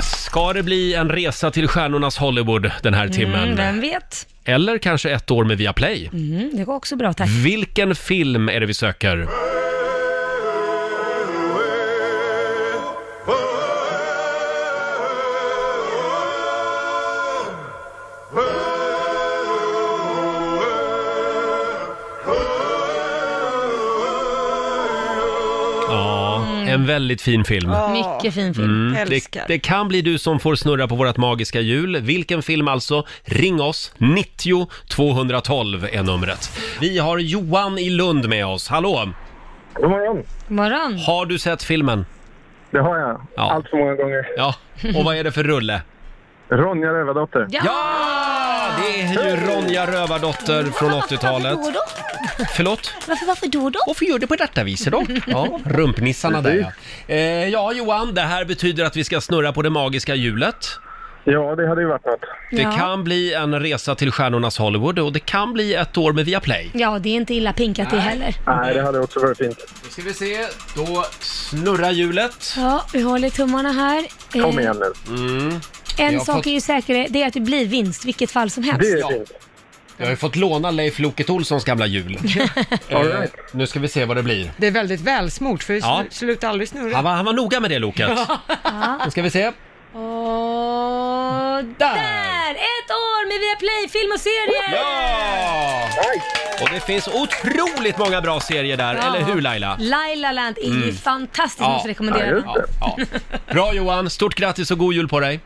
S1: Ska det bli en resa till stjärnornas Hollywood den här timmen?
S2: Mm, vem vet?
S1: Eller kanske ett år med Viaplay?
S2: Mm, det går också bra, tack.
S1: Vilken film är det vi söker? Ja, en väldigt fin film.
S2: Ja. Mycket fin film.
S1: Det,
S2: Älskar.
S1: det kan bli du som får snurra på vårt magiska hjul. Vilken film alltså? Ring oss! 90 212 är numret. Vi har Johan i Lund med oss. Hallå! God morgon!
S2: Morgon.
S1: Har du sett filmen?
S4: Det har jag. Allt för många gånger.
S1: Ja, och vad är det för rulle?
S4: Ronja Rövardotter.
S2: Ja!
S1: Det är ju Ronja Rövardotter från 80-talet.
S2: Då då?
S1: Förlåt?
S2: Varför, varför då då?
S1: Varför gör du på detta viset då? Ja, rumpnissarna där ja. Eh, ja, Johan, det här betyder att vi ska snurra på det magiska hjulet.
S4: Ja, det hade ju varit något.
S1: Det
S2: Ja.
S1: kan bli en resa till stjärnornas Hollywood och det kan bli ett år med Viaplay.
S2: Ja, det är inte illa pinkat det heller.
S4: Nej, det hade också varit fint.
S1: Då ska vi se, då snurrar hjulet.
S2: Ja, vi håller tummarna här. Eh,
S1: nu. Mm.
S2: En
S1: Jag har
S2: sak
S1: fått-
S2: är ju säker, det är att det blir vinst vilket fall som helst.
S1: Jag har ju fått låna Leif Loket Olssons gamla hjul. eh, nu ska vi se vad det blir.
S3: Det är väldigt välsmort, för det
S1: Ja.
S3: slu- slutar aldrig snurra.
S1: Han var, han var noga med det Loket. Nu ska vi se.
S2: Och där! Ett år med Viaplay film och serier!
S1: Ja! Och det finns otroligt många bra serier där,
S2: Ja.
S1: eller hur Laila?
S2: Laila Land är ju
S1: Mm.
S2: fantastisk, måste rekommendera den.
S1: Ja, ja. Bra Johan, stort grattis och god jul på dig!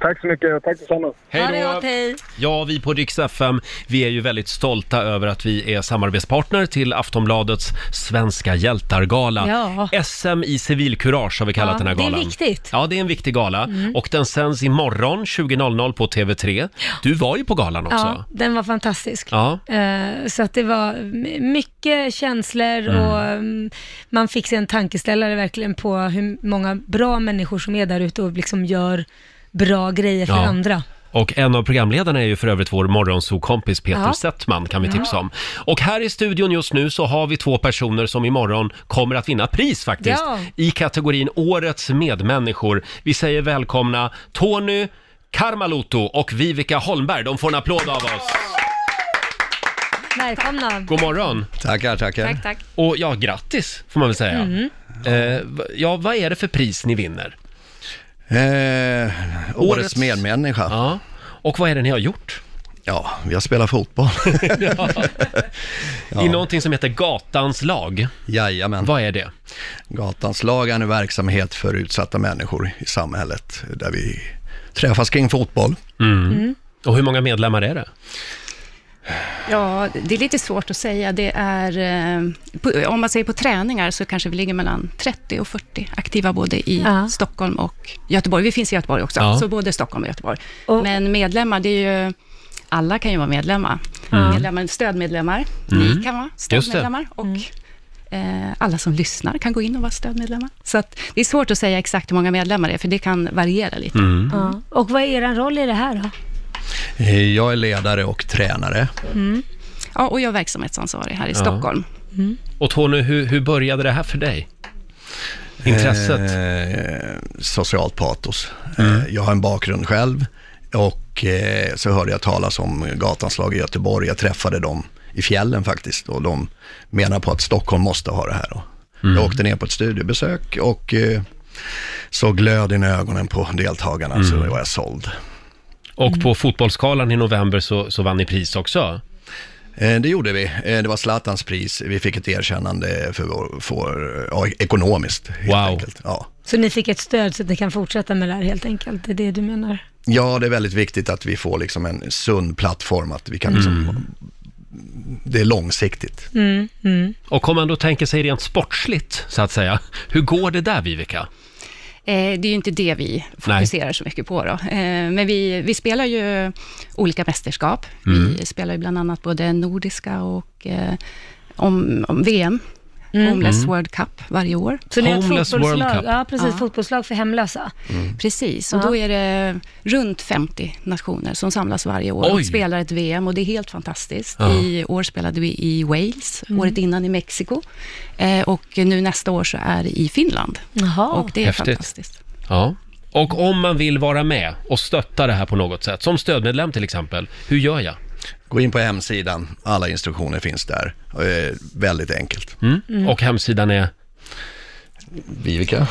S4: Tack så mycket och tack detsamma.
S2: Ha det gott, hej!
S1: Ja, vi på Rix FM, vi är ju väldigt stolta över att vi är samarbetspartner till Aftonbladets Svenska hjältar-gala.
S2: Ja.
S1: SM i civilkurage har vi kallat
S2: Ja,
S1: den här
S2: det är
S1: galan.
S2: viktigt.
S1: Ja, det är en viktig gala.
S2: Mm.
S1: Och den sänds imorgon 20.00 på TV3. Du var ju på galan också.
S2: Ja, den var fantastisk.
S1: Ja.
S2: Eh, Så att det var m- mycket känslor
S1: Mm.
S2: och mm, man fick sig en tankeställare verkligen på hur många bra människor som är där ute och liksom gör bra grejer för
S1: Ja.
S2: andra.
S1: Och en av programledarna är ju för övrigt vår morgonsokompis Peter
S2: Ja.
S1: Settman kan vi
S2: Ja.
S1: tipsa om. Och här i studion just nu så har vi två personer som imorgon kommer att vinna pris faktiskt.
S2: Ja.
S1: I kategorin Årets medmänniskor. Vi säger välkomna Tony Karmaloto och Vivica Holmberg. De får en applåd av oss.
S2: Välkomna!
S1: God morgon! Tackar, tackar.
S2: Tack, tack.
S1: Och ja, grattis får man väl säga.
S2: Mm.
S1: Eh, va- ja, vad är det för pris ni vinner?
S16: Eh, årets,
S1: Årets-
S16: medmänniska.
S1: Ja. Och vad är det ni har gjort?
S16: Ja, vi har spelat fotboll.
S1: I någonting som heter Gatans lag.
S16: Jajamän.
S1: Vad är det?
S16: Gatans lag är en verksamhet för utsatta människor i samhället där vi träffas kring fotboll.
S1: Mm. Och hur många medlemmar är det?
S7: Ja, det är lite svårt att säga. Det är, eh, på, om man säger på träningar så kanske vi ligger mellan 30 och 40 aktiva både i Stockholm och Göteborg. Vi finns i Göteborg också,
S17: Ja.
S7: så både Stockholm och Göteborg. Men medlemmar, det är ju... Alla kan ju vara medlemmar.
S17: Mm.
S7: medlemmar stödmedlemmar,
S17: Mm.
S7: ni kan vara
S17: Just det.
S7: stödmedlemmar och eh, alla som lyssnar kan gå in och vara stödmedlemmar. Så att, det är svårt att säga exakt hur många medlemmar det är, för det kan variera lite.
S16: Mm.
S2: Ja. Och vad är er roll i det här då?
S16: Eh, Jag är ledare och tränare.
S7: Ja, och jag är verksamhetsansvarig här i
S16: Ja.
S7: Stockholm.
S1: Och Tony, hur, hur började det här för dig? Intresset?
S16: Eh, socialt patos. Eh, jag har en bakgrund själv och eh, så hörde jag talas om gatans lag i Göteborg. Jag träffade dem i fjällen faktiskt och de menar på att Stockholm måste ha det här. Då. Jag åkte ner på ett studiebesök och eh, såg glöden i ögonen på deltagarna så var jag såld.
S1: Och på fotbollsskalan i november så, så vann ni pris också.
S16: Eh, Det gjorde vi. Eh, Det var Zlatans pris. Vi fick ett erkännande för, vår- för ja, ekonomiskt helt wow. enkelt. Ja.
S2: Så ni fick ett stöd så att ni kan fortsätta med det här helt enkelt, det är det du menar?
S16: Ja, det är väldigt viktigt att vi får liksom en sund plattform, att vi kan liksom, det är långsiktigt.
S14: Mm, mm.
S1: Och om man då tänker sig rent sportsligt, så att säga. Hur går det där, Vivica?
S7: Eh, Det är ju inte det vi fokuserar så mycket på. Då. Eh, Men vi, vi spelar ju olika mästerskap.
S1: Mm.
S7: Vi spelar ju bland annat både nordiska och eh, om, om VM, Homeless
S14: Mm.
S7: World Cup, varje år.
S14: Så ni har ett fotbollslag, Ja, precis, fotbollslag för hemlösa.
S7: Precis, och
S14: Ja.
S7: då är det runt 50 nationer som samlas varje år
S14: Oj.
S7: och spelar ett VM och det är helt fantastiskt.
S14: Ja.
S7: I år spelade vi i Wales,
S14: Mm.
S7: året innan i Mexiko eh, och nu nästa år så är det i Finland. Och det är
S1: Häftigt.
S7: fantastiskt.
S1: Ja. Och om man vill vara med och stötta det här på något sätt, som stödmedlem till exempel, hur gör jag?
S16: Gå in på hemsidan, alla instruktioner finns där. Eh, väldigt enkelt.
S7: Mm.
S1: Och hemsidan är?
S16: Vivica?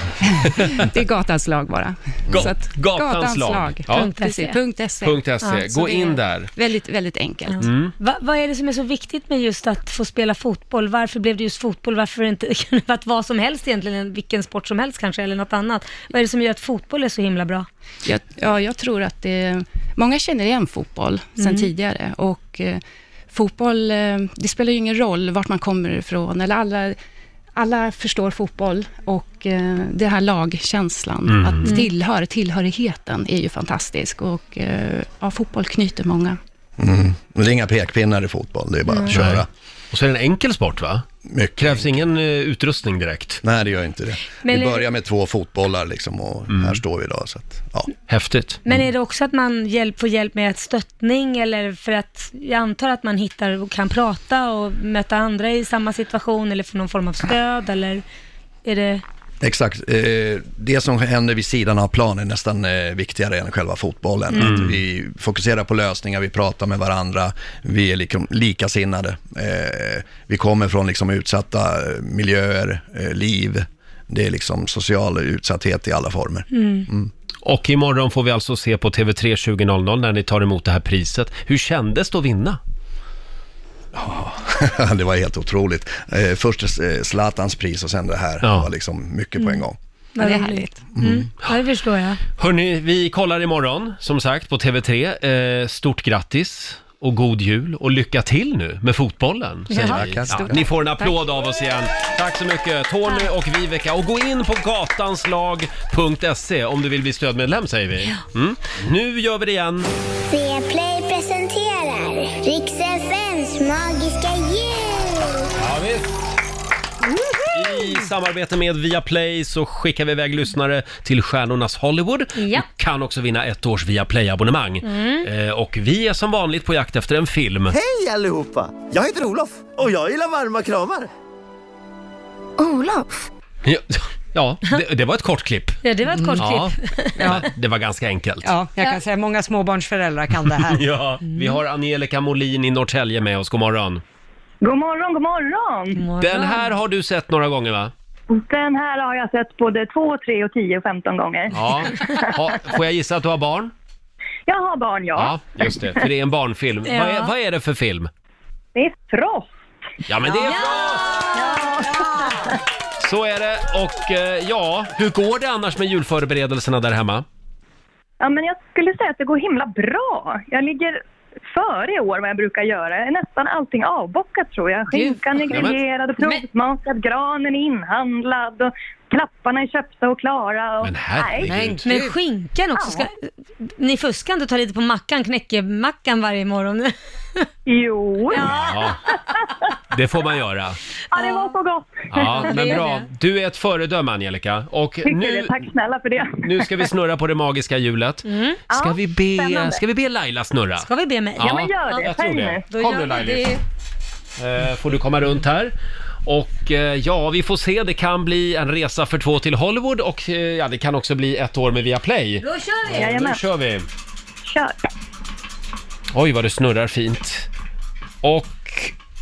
S7: det är gatans lag bara.
S1: Ga-
S7: Så att-
S1: gatans lag. Ja. Punkt
S7: Precis,
S1: SE.
S7: punkt SE.
S1: Punkt SE.
S7: så
S1: Gå
S7: det
S1: in
S7: är
S1: där.
S7: Väldigt, väldigt enkelt.
S1: Mm.
S14: Va, vad är det som är så viktigt med just att få spela fotboll? Varför blev det just fotboll? Varför inte kan det varit vad som helst egentligen? Vilken sport som helst kanske, eller något annat. Vad är det som gör att fotboll är så himla bra?
S7: Jag, ja, jag tror att det, många känner igen fotboll sen
S14: Mm.
S7: tidigare och eh, fotboll, eh, det spelar ju ingen roll vart man kommer ifrån eller alla, alla förstår fotboll och eh, det här lagkänslan,
S1: Mm.
S7: att
S1: Mm.
S7: tillhör, tillhörigheten är ju fantastisk och eh, ja, fotboll knyter många.
S16: Mm. Det är inga pekpinnar i fotboll, det är bara
S7: Nej.
S16: att köra.
S7: Nej.
S1: Och så är det en enkel sport va?
S16: Mycket
S1: Krävs ingen eh, utrustning direkt?
S16: Nej, det gör inte det.
S14: Men
S16: vi
S14: är-
S16: börjar med två fotbollar liksom och här står vi idag. Så att, ja.
S1: Häftigt.
S14: Men är det också att man hjälp, får hjälp med ett stöttning eller för att jag antar att man hittar och kan prata och möta andra i samma situation eller få någon form av stöd eller är det...
S16: Exakt. Eh, Det som händer vid sidan av planen är nästan eh, viktigare än själva fotbollen.
S14: Mm.
S16: Att vi fokuserar på lösningar, vi pratar med varandra, vi är liksom likasinnade. Eh, Vi kommer från liksom utsatta eh, miljöer, eh, liv. Det är liksom social utsatthet i alla former.
S1: Mm. Och imorgon får vi alltså se på TV3 20.00 när ni tar emot det här priset. Hur kändes det att vinna?
S16: det var helt otroligt. Eh, Först eh, Zlatans pris och sen det här. Det var liksom mycket på en gång.
S14: Vad det är härligt. Mm. Ja, det förstår jag.
S1: Hörni, vi kollar imorgon som sagt på TV3. Eh, stort grattis och god jul och lycka till nu med fotbollen.
S4: Ja,
S1: Säger vi.
S4: tackar. Stort
S1: ni
S4: tack.
S1: får en applåd av oss igen. Tack så mycket Tony och Viveka. Och gå in på gatanslag.se E om du vill bli stödmedlem säger vi. Mm. Nu gör vi det igen.
S5: C-play presenterar Rix FMs magiska jul!
S1: Ja, I samarbete med Viaplay så skickar vi iväg lyssnare till Stjärnornas Hollywood.
S14: Ja.
S1: Du kan också vinna ett års Viaplay-abonnemang.
S4: Mm.
S1: Eh, och vi är som vanligt på jakt efter en film.
S4: Hej allihopa! Jag heter Olof och jag gillar varma kramar.
S7: Oh,
S5: Olof?
S1: Ja, ja det, det var ett kort klipp.
S14: Ja, det var ett kort
S1: Ja,
S14: klipp.
S1: men det var ganska enkelt.
S3: Ja, jag kan säga många småbarnsföräldrar kan det här.
S1: Ja, vi har Angelica Molin i Norrtälje med oss. God morgon.
S17: God morgon, god
S14: Mm.
S17: morgon!
S1: Den här har du sett några gånger va?
S17: Den här har jag sett både 2, 3, och 10 och 15 gånger.
S1: Ja. Ha, får jag gissa att du har barn?
S17: Jag har barn, ja.
S1: Ja, just det. För det är en barnfilm.
S17: Ja.
S1: Vad, är, vad är det för film?
S17: Det är Frost.
S1: Ja, men det är Så är det och eh, ja, hur går det annars med julförberedelserna där hemma?
S17: Ja, men jag skulle säga att det går himla bra. Jag ligger före i år vad jag brukar göra. Jag är nästan allting avbockat tror jag. Skinkan är
S1: Ja, men-
S17: grillerad och provsmakad, granen är inhandlad och klapparna är köpta och klara. Och... Men
S14: Men, men skinkan också ska... Ni fuskar inte och tar lite på mackan, knäckemackan varje morgon?
S17: jo.
S14: Ja.
S1: Ja, det får man göra.
S17: Ja, det var så gott.
S1: Ja, men bra. Du är ett föredöme Angelica och
S17: Tycker det.
S1: nu,
S17: Tack snälla för det.
S1: nu ska vi snurra på det magiska hjulet. Ska
S17: Ja,
S1: vi be,
S17: spännande.
S1: ska vi be Laila snurra?
S14: Ska vi be mig?
S1: Ja, Ja, men gör det. jag tror Säg det. nu. Då Kom gör nu, vi Laila. det. Eh, får du komma runt här. Och eh, ja, vi får se. Det kan bli en resa för två till Hollywood och eh, ja, det kan också bli ett år med Viaplay.
S14: Då kör vi!
S1: Nu kör vi.
S17: Kör.
S1: Oj, vad det snurrar fint. Och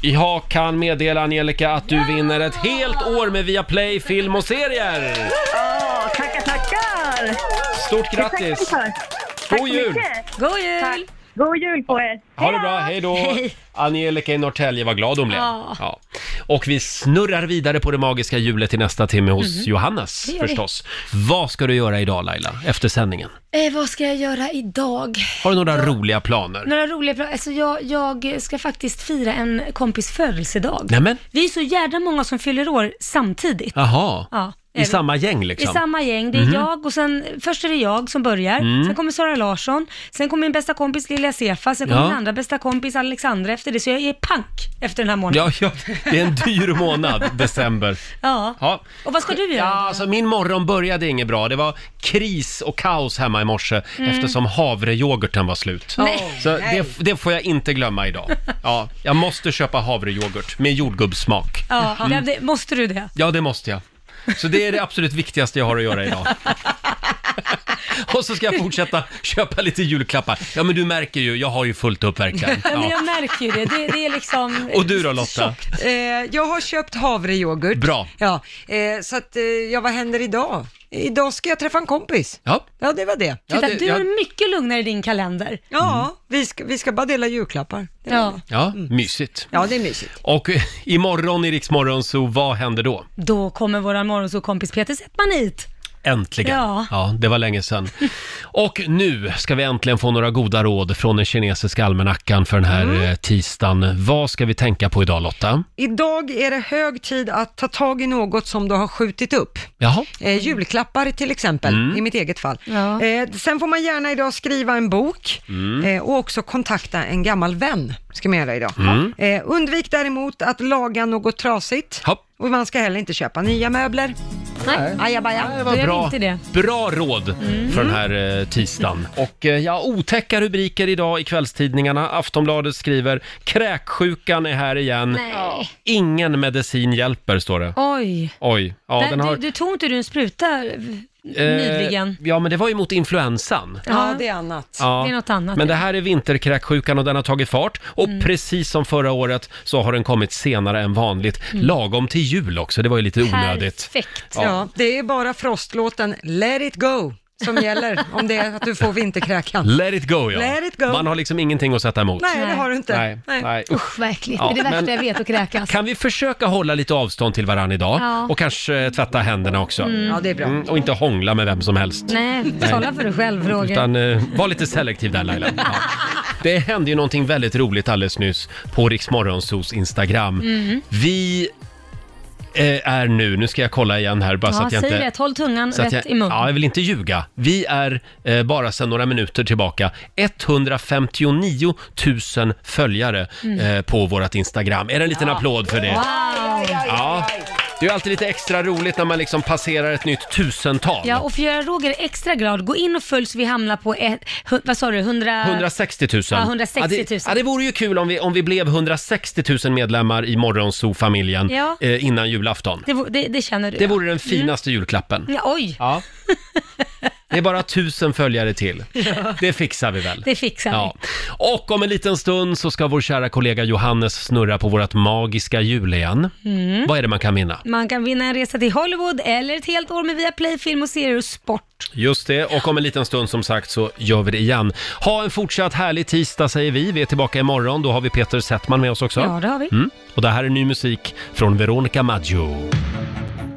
S1: jag kan meddela Angelica att du vinner ett helt år med Viaplay film och serier.
S17: Ja, tackar, tackar!
S1: Stort
S17: Det tackar vi
S1: grattis!
S17: för. Tack
S1: God
S17: så
S1: jul.
S17: mycket.
S14: God jul!
S17: God jul på er!
S1: Ha det bra, hej då! Angelica i Norrtälje, vad glad hon blev.
S17: Ja.
S1: Ja. Och vi snurrar vidare på det magiska hjulet i nästa timme hos
S2: Mhm.
S1: Johannes
S2: Det gör vi.
S1: förstås. Vad ska du göra idag Laila, efter sändningen?
S2: Eh, vad ska jag göra idag?
S1: Har du några roliga planer?
S2: Några roliga planer? Alltså jag, jag ska faktiskt fira en kompis födelsedag.
S1: Nämen,
S2: Vi är så jävla många som fyller år samtidigt.
S1: jaha.
S2: Ja, är
S1: I
S2: det.
S1: samma gäng liksom?
S2: I samma gäng. Det är
S1: Mhm.
S2: jag och sen, först är det jag som börjar,
S1: Mm.
S2: sen kommer Sara Larsson, sen kommer min bästa kompis lilla Sefa, sen kommer
S1: Ja.
S2: min andra bästa kompis Alexandra efter det, så jag är pank efter den här månaden.
S1: Ja, ja, det är en dyr månad, december.
S2: Ja.
S1: Ja.
S2: Och vad ska du göra?
S1: Ja, alltså min morgon började inget bra. Det var kris och kaos hemma i morse
S2: Mm.
S1: eftersom havrejoghurten var slut.
S2: Nej.
S1: Så
S2: Nej.
S1: det, det får jag inte glömma idag. Ja, jag måste köpa havrejoghurt med jordgubbssmak.
S2: Ja,
S1: Mm.
S2: ja, det, måste du det?
S1: Ja, det måste jag. Så det är det absolut viktigaste jag har att göra idag. Och så ska jag fortsätta köpa lite julklappar. Ja, men du märker ju, jag har ju fullt upp verkligen.
S2: Ja. Men
S1: Ja.
S2: jag märker ju det. det, det är liksom...
S1: Och du då Lotta?
S3: Eh, jag har köpt havrejoghurt.
S1: Bra.
S3: Ja, eh, så att, eh, ja, vad händer idag? Idag ska jag träffa en kompis.
S1: Ja. Mm.
S3: Ja, det var det.
S2: Titta, du är mycket lugnare i din kalender.
S3: Ja, vi, ska, vi ska bara dela julklappar. Det var det.
S1: Ja,
S2: Mm.
S1: mysigt.
S3: ja, det är mysigt.
S1: Och eh, imorgon i Rix Morgon, så vad händer då?
S2: Då kommer våran morgonsåkompis Peter Settman hit.
S1: Äntligen! Ja.
S2: Ja.
S1: det var länge sedan. Och nu ska vi äntligen få några goda råd från den kinesiska almanackan för den här mm. tisdagen. Vad ska vi tänka på idag Lotta?
S3: Idag är det hög tid att ta tag i något som du har skjutit upp.
S1: Jaha?
S3: Eh, julklappar till exempel,
S1: Mm.
S3: i mitt eget fall. Eh, sen får man gärna idag skriva en bok
S1: Mm.
S3: eh, och också kontakta en gammal vän, ska man göra idag.
S1: Mm.
S3: Eh, undvik däremot att laga något trasigt. Och man ska heller inte köpa nya möbler.
S2: Nej,
S3: ajabaja.
S2: Nej, vad Du gör bra. inte det. Mm.
S1: Bra råd för den här eh, tisdagen. Och eh, ja, otäcka rubriker idag i kvällstidningarna. Aftonbladet skriver “Kräksjukan är här igen.
S2: Nej.
S1: Ingen medicin hjälper” står det.
S2: Oj.
S1: Oj. Ja,
S2: Där,
S1: den har...
S2: du, du tog inte du en spruta eh, nyligen?
S1: Eh, ja, men det var ju mot influensan.
S3: Ja, det är annat.
S1: Ja,
S2: Det är något annat.
S1: Men det här är vinterkräksjukan och den har tagit fart. Och precis som förra året så har den kommit senare än vanligt.
S3: Mm.
S1: Lagom till jul också, det var ju lite onödigt.
S2: Perfekt.
S1: Ja.
S3: Ja. det är bara frostlåten Let it go som gäller om det är att du får vinterkräkan.
S1: Let it go ja.
S3: Let it go.
S1: Man har liksom ingenting att sätta emot.
S3: Nej, det har du inte.
S1: Nej, nej.
S14: Usch, vad äckligt.
S1: Ja,
S14: det är det värsta
S1: men-
S14: jag vet att kräkas.
S1: Kan vi försöka hålla lite avstånd till varandra idag?
S14: Ja.
S1: Och kanske eh, tvätta händerna också.
S2: Mm. Ja, det är bra.
S1: och inte hångla med vem som helst.
S2: Nej,
S1: Nej.
S2: tala för dig själv Roger.
S1: Utan eh, var lite selektiv där Laila. Ja. Det hände ju någonting väldigt roligt alldeles nyss på Riksmorgonsos Instagram.
S2: Mm.
S1: Vi eh, är nu, nu ska jag kolla igen här bara så
S2: Ja,
S1: att jag
S2: säg
S1: inte...
S2: rätt, håll tungan
S1: så att
S2: rätt
S1: jag,
S2: i mun.
S1: Ja, jag vill inte ljuga. Vi är eh, bara sedan några minuter tillbaka 159 000 följare
S4: Mm.
S1: eh, på vårt Instagram. Är det en liten
S4: Ja.
S1: applåd för det? Ja. Det är ju alltid lite extra roligt när man liksom passerar ett nytt tusental.
S2: Ja, och för att göra Roger extra glad, gå in och följ så vi hamnar på, ett, hu- vad sa du, 100...
S1: 160 000.
S2: Ja, 160 000.
S1: Ja, det, ja, det vore ju kul om vi, om vi blev 160 000 medlemmar i Morgonzoo-familjen
S2: Ja.
S1: eh, innan julafton.
S2: Det, vo- det, det känner du
S1: Det
S2: ja.
S1: vore den finaste julklappen.
S2: Mm. Ja, oj,
S1: Ja. Det är bara tusen följare till. Det fixar vi väl?
S2: det fixar vi.
S1: Ja. Och om en liten stund så ska vår kära kollega Johannes snurra på vårt magiska hjul igen.
S2: Mm.
S1: Vad är det man kan vinna?
S2: Man kan vinna en resa till Hollywood eller ett helt år med Viaplay film och serier och sport.
S1: Just det, och om en liten stund som sagt så gör vi det igen. Ha en fortsatt härlig tisdag säger vi. Vi är tillbaka imorgon. Då har vi Peter Settman med oss också.
S2: Ja, det har vi.
S1: Mm. Och det här är ny musik från Veronica Maggio.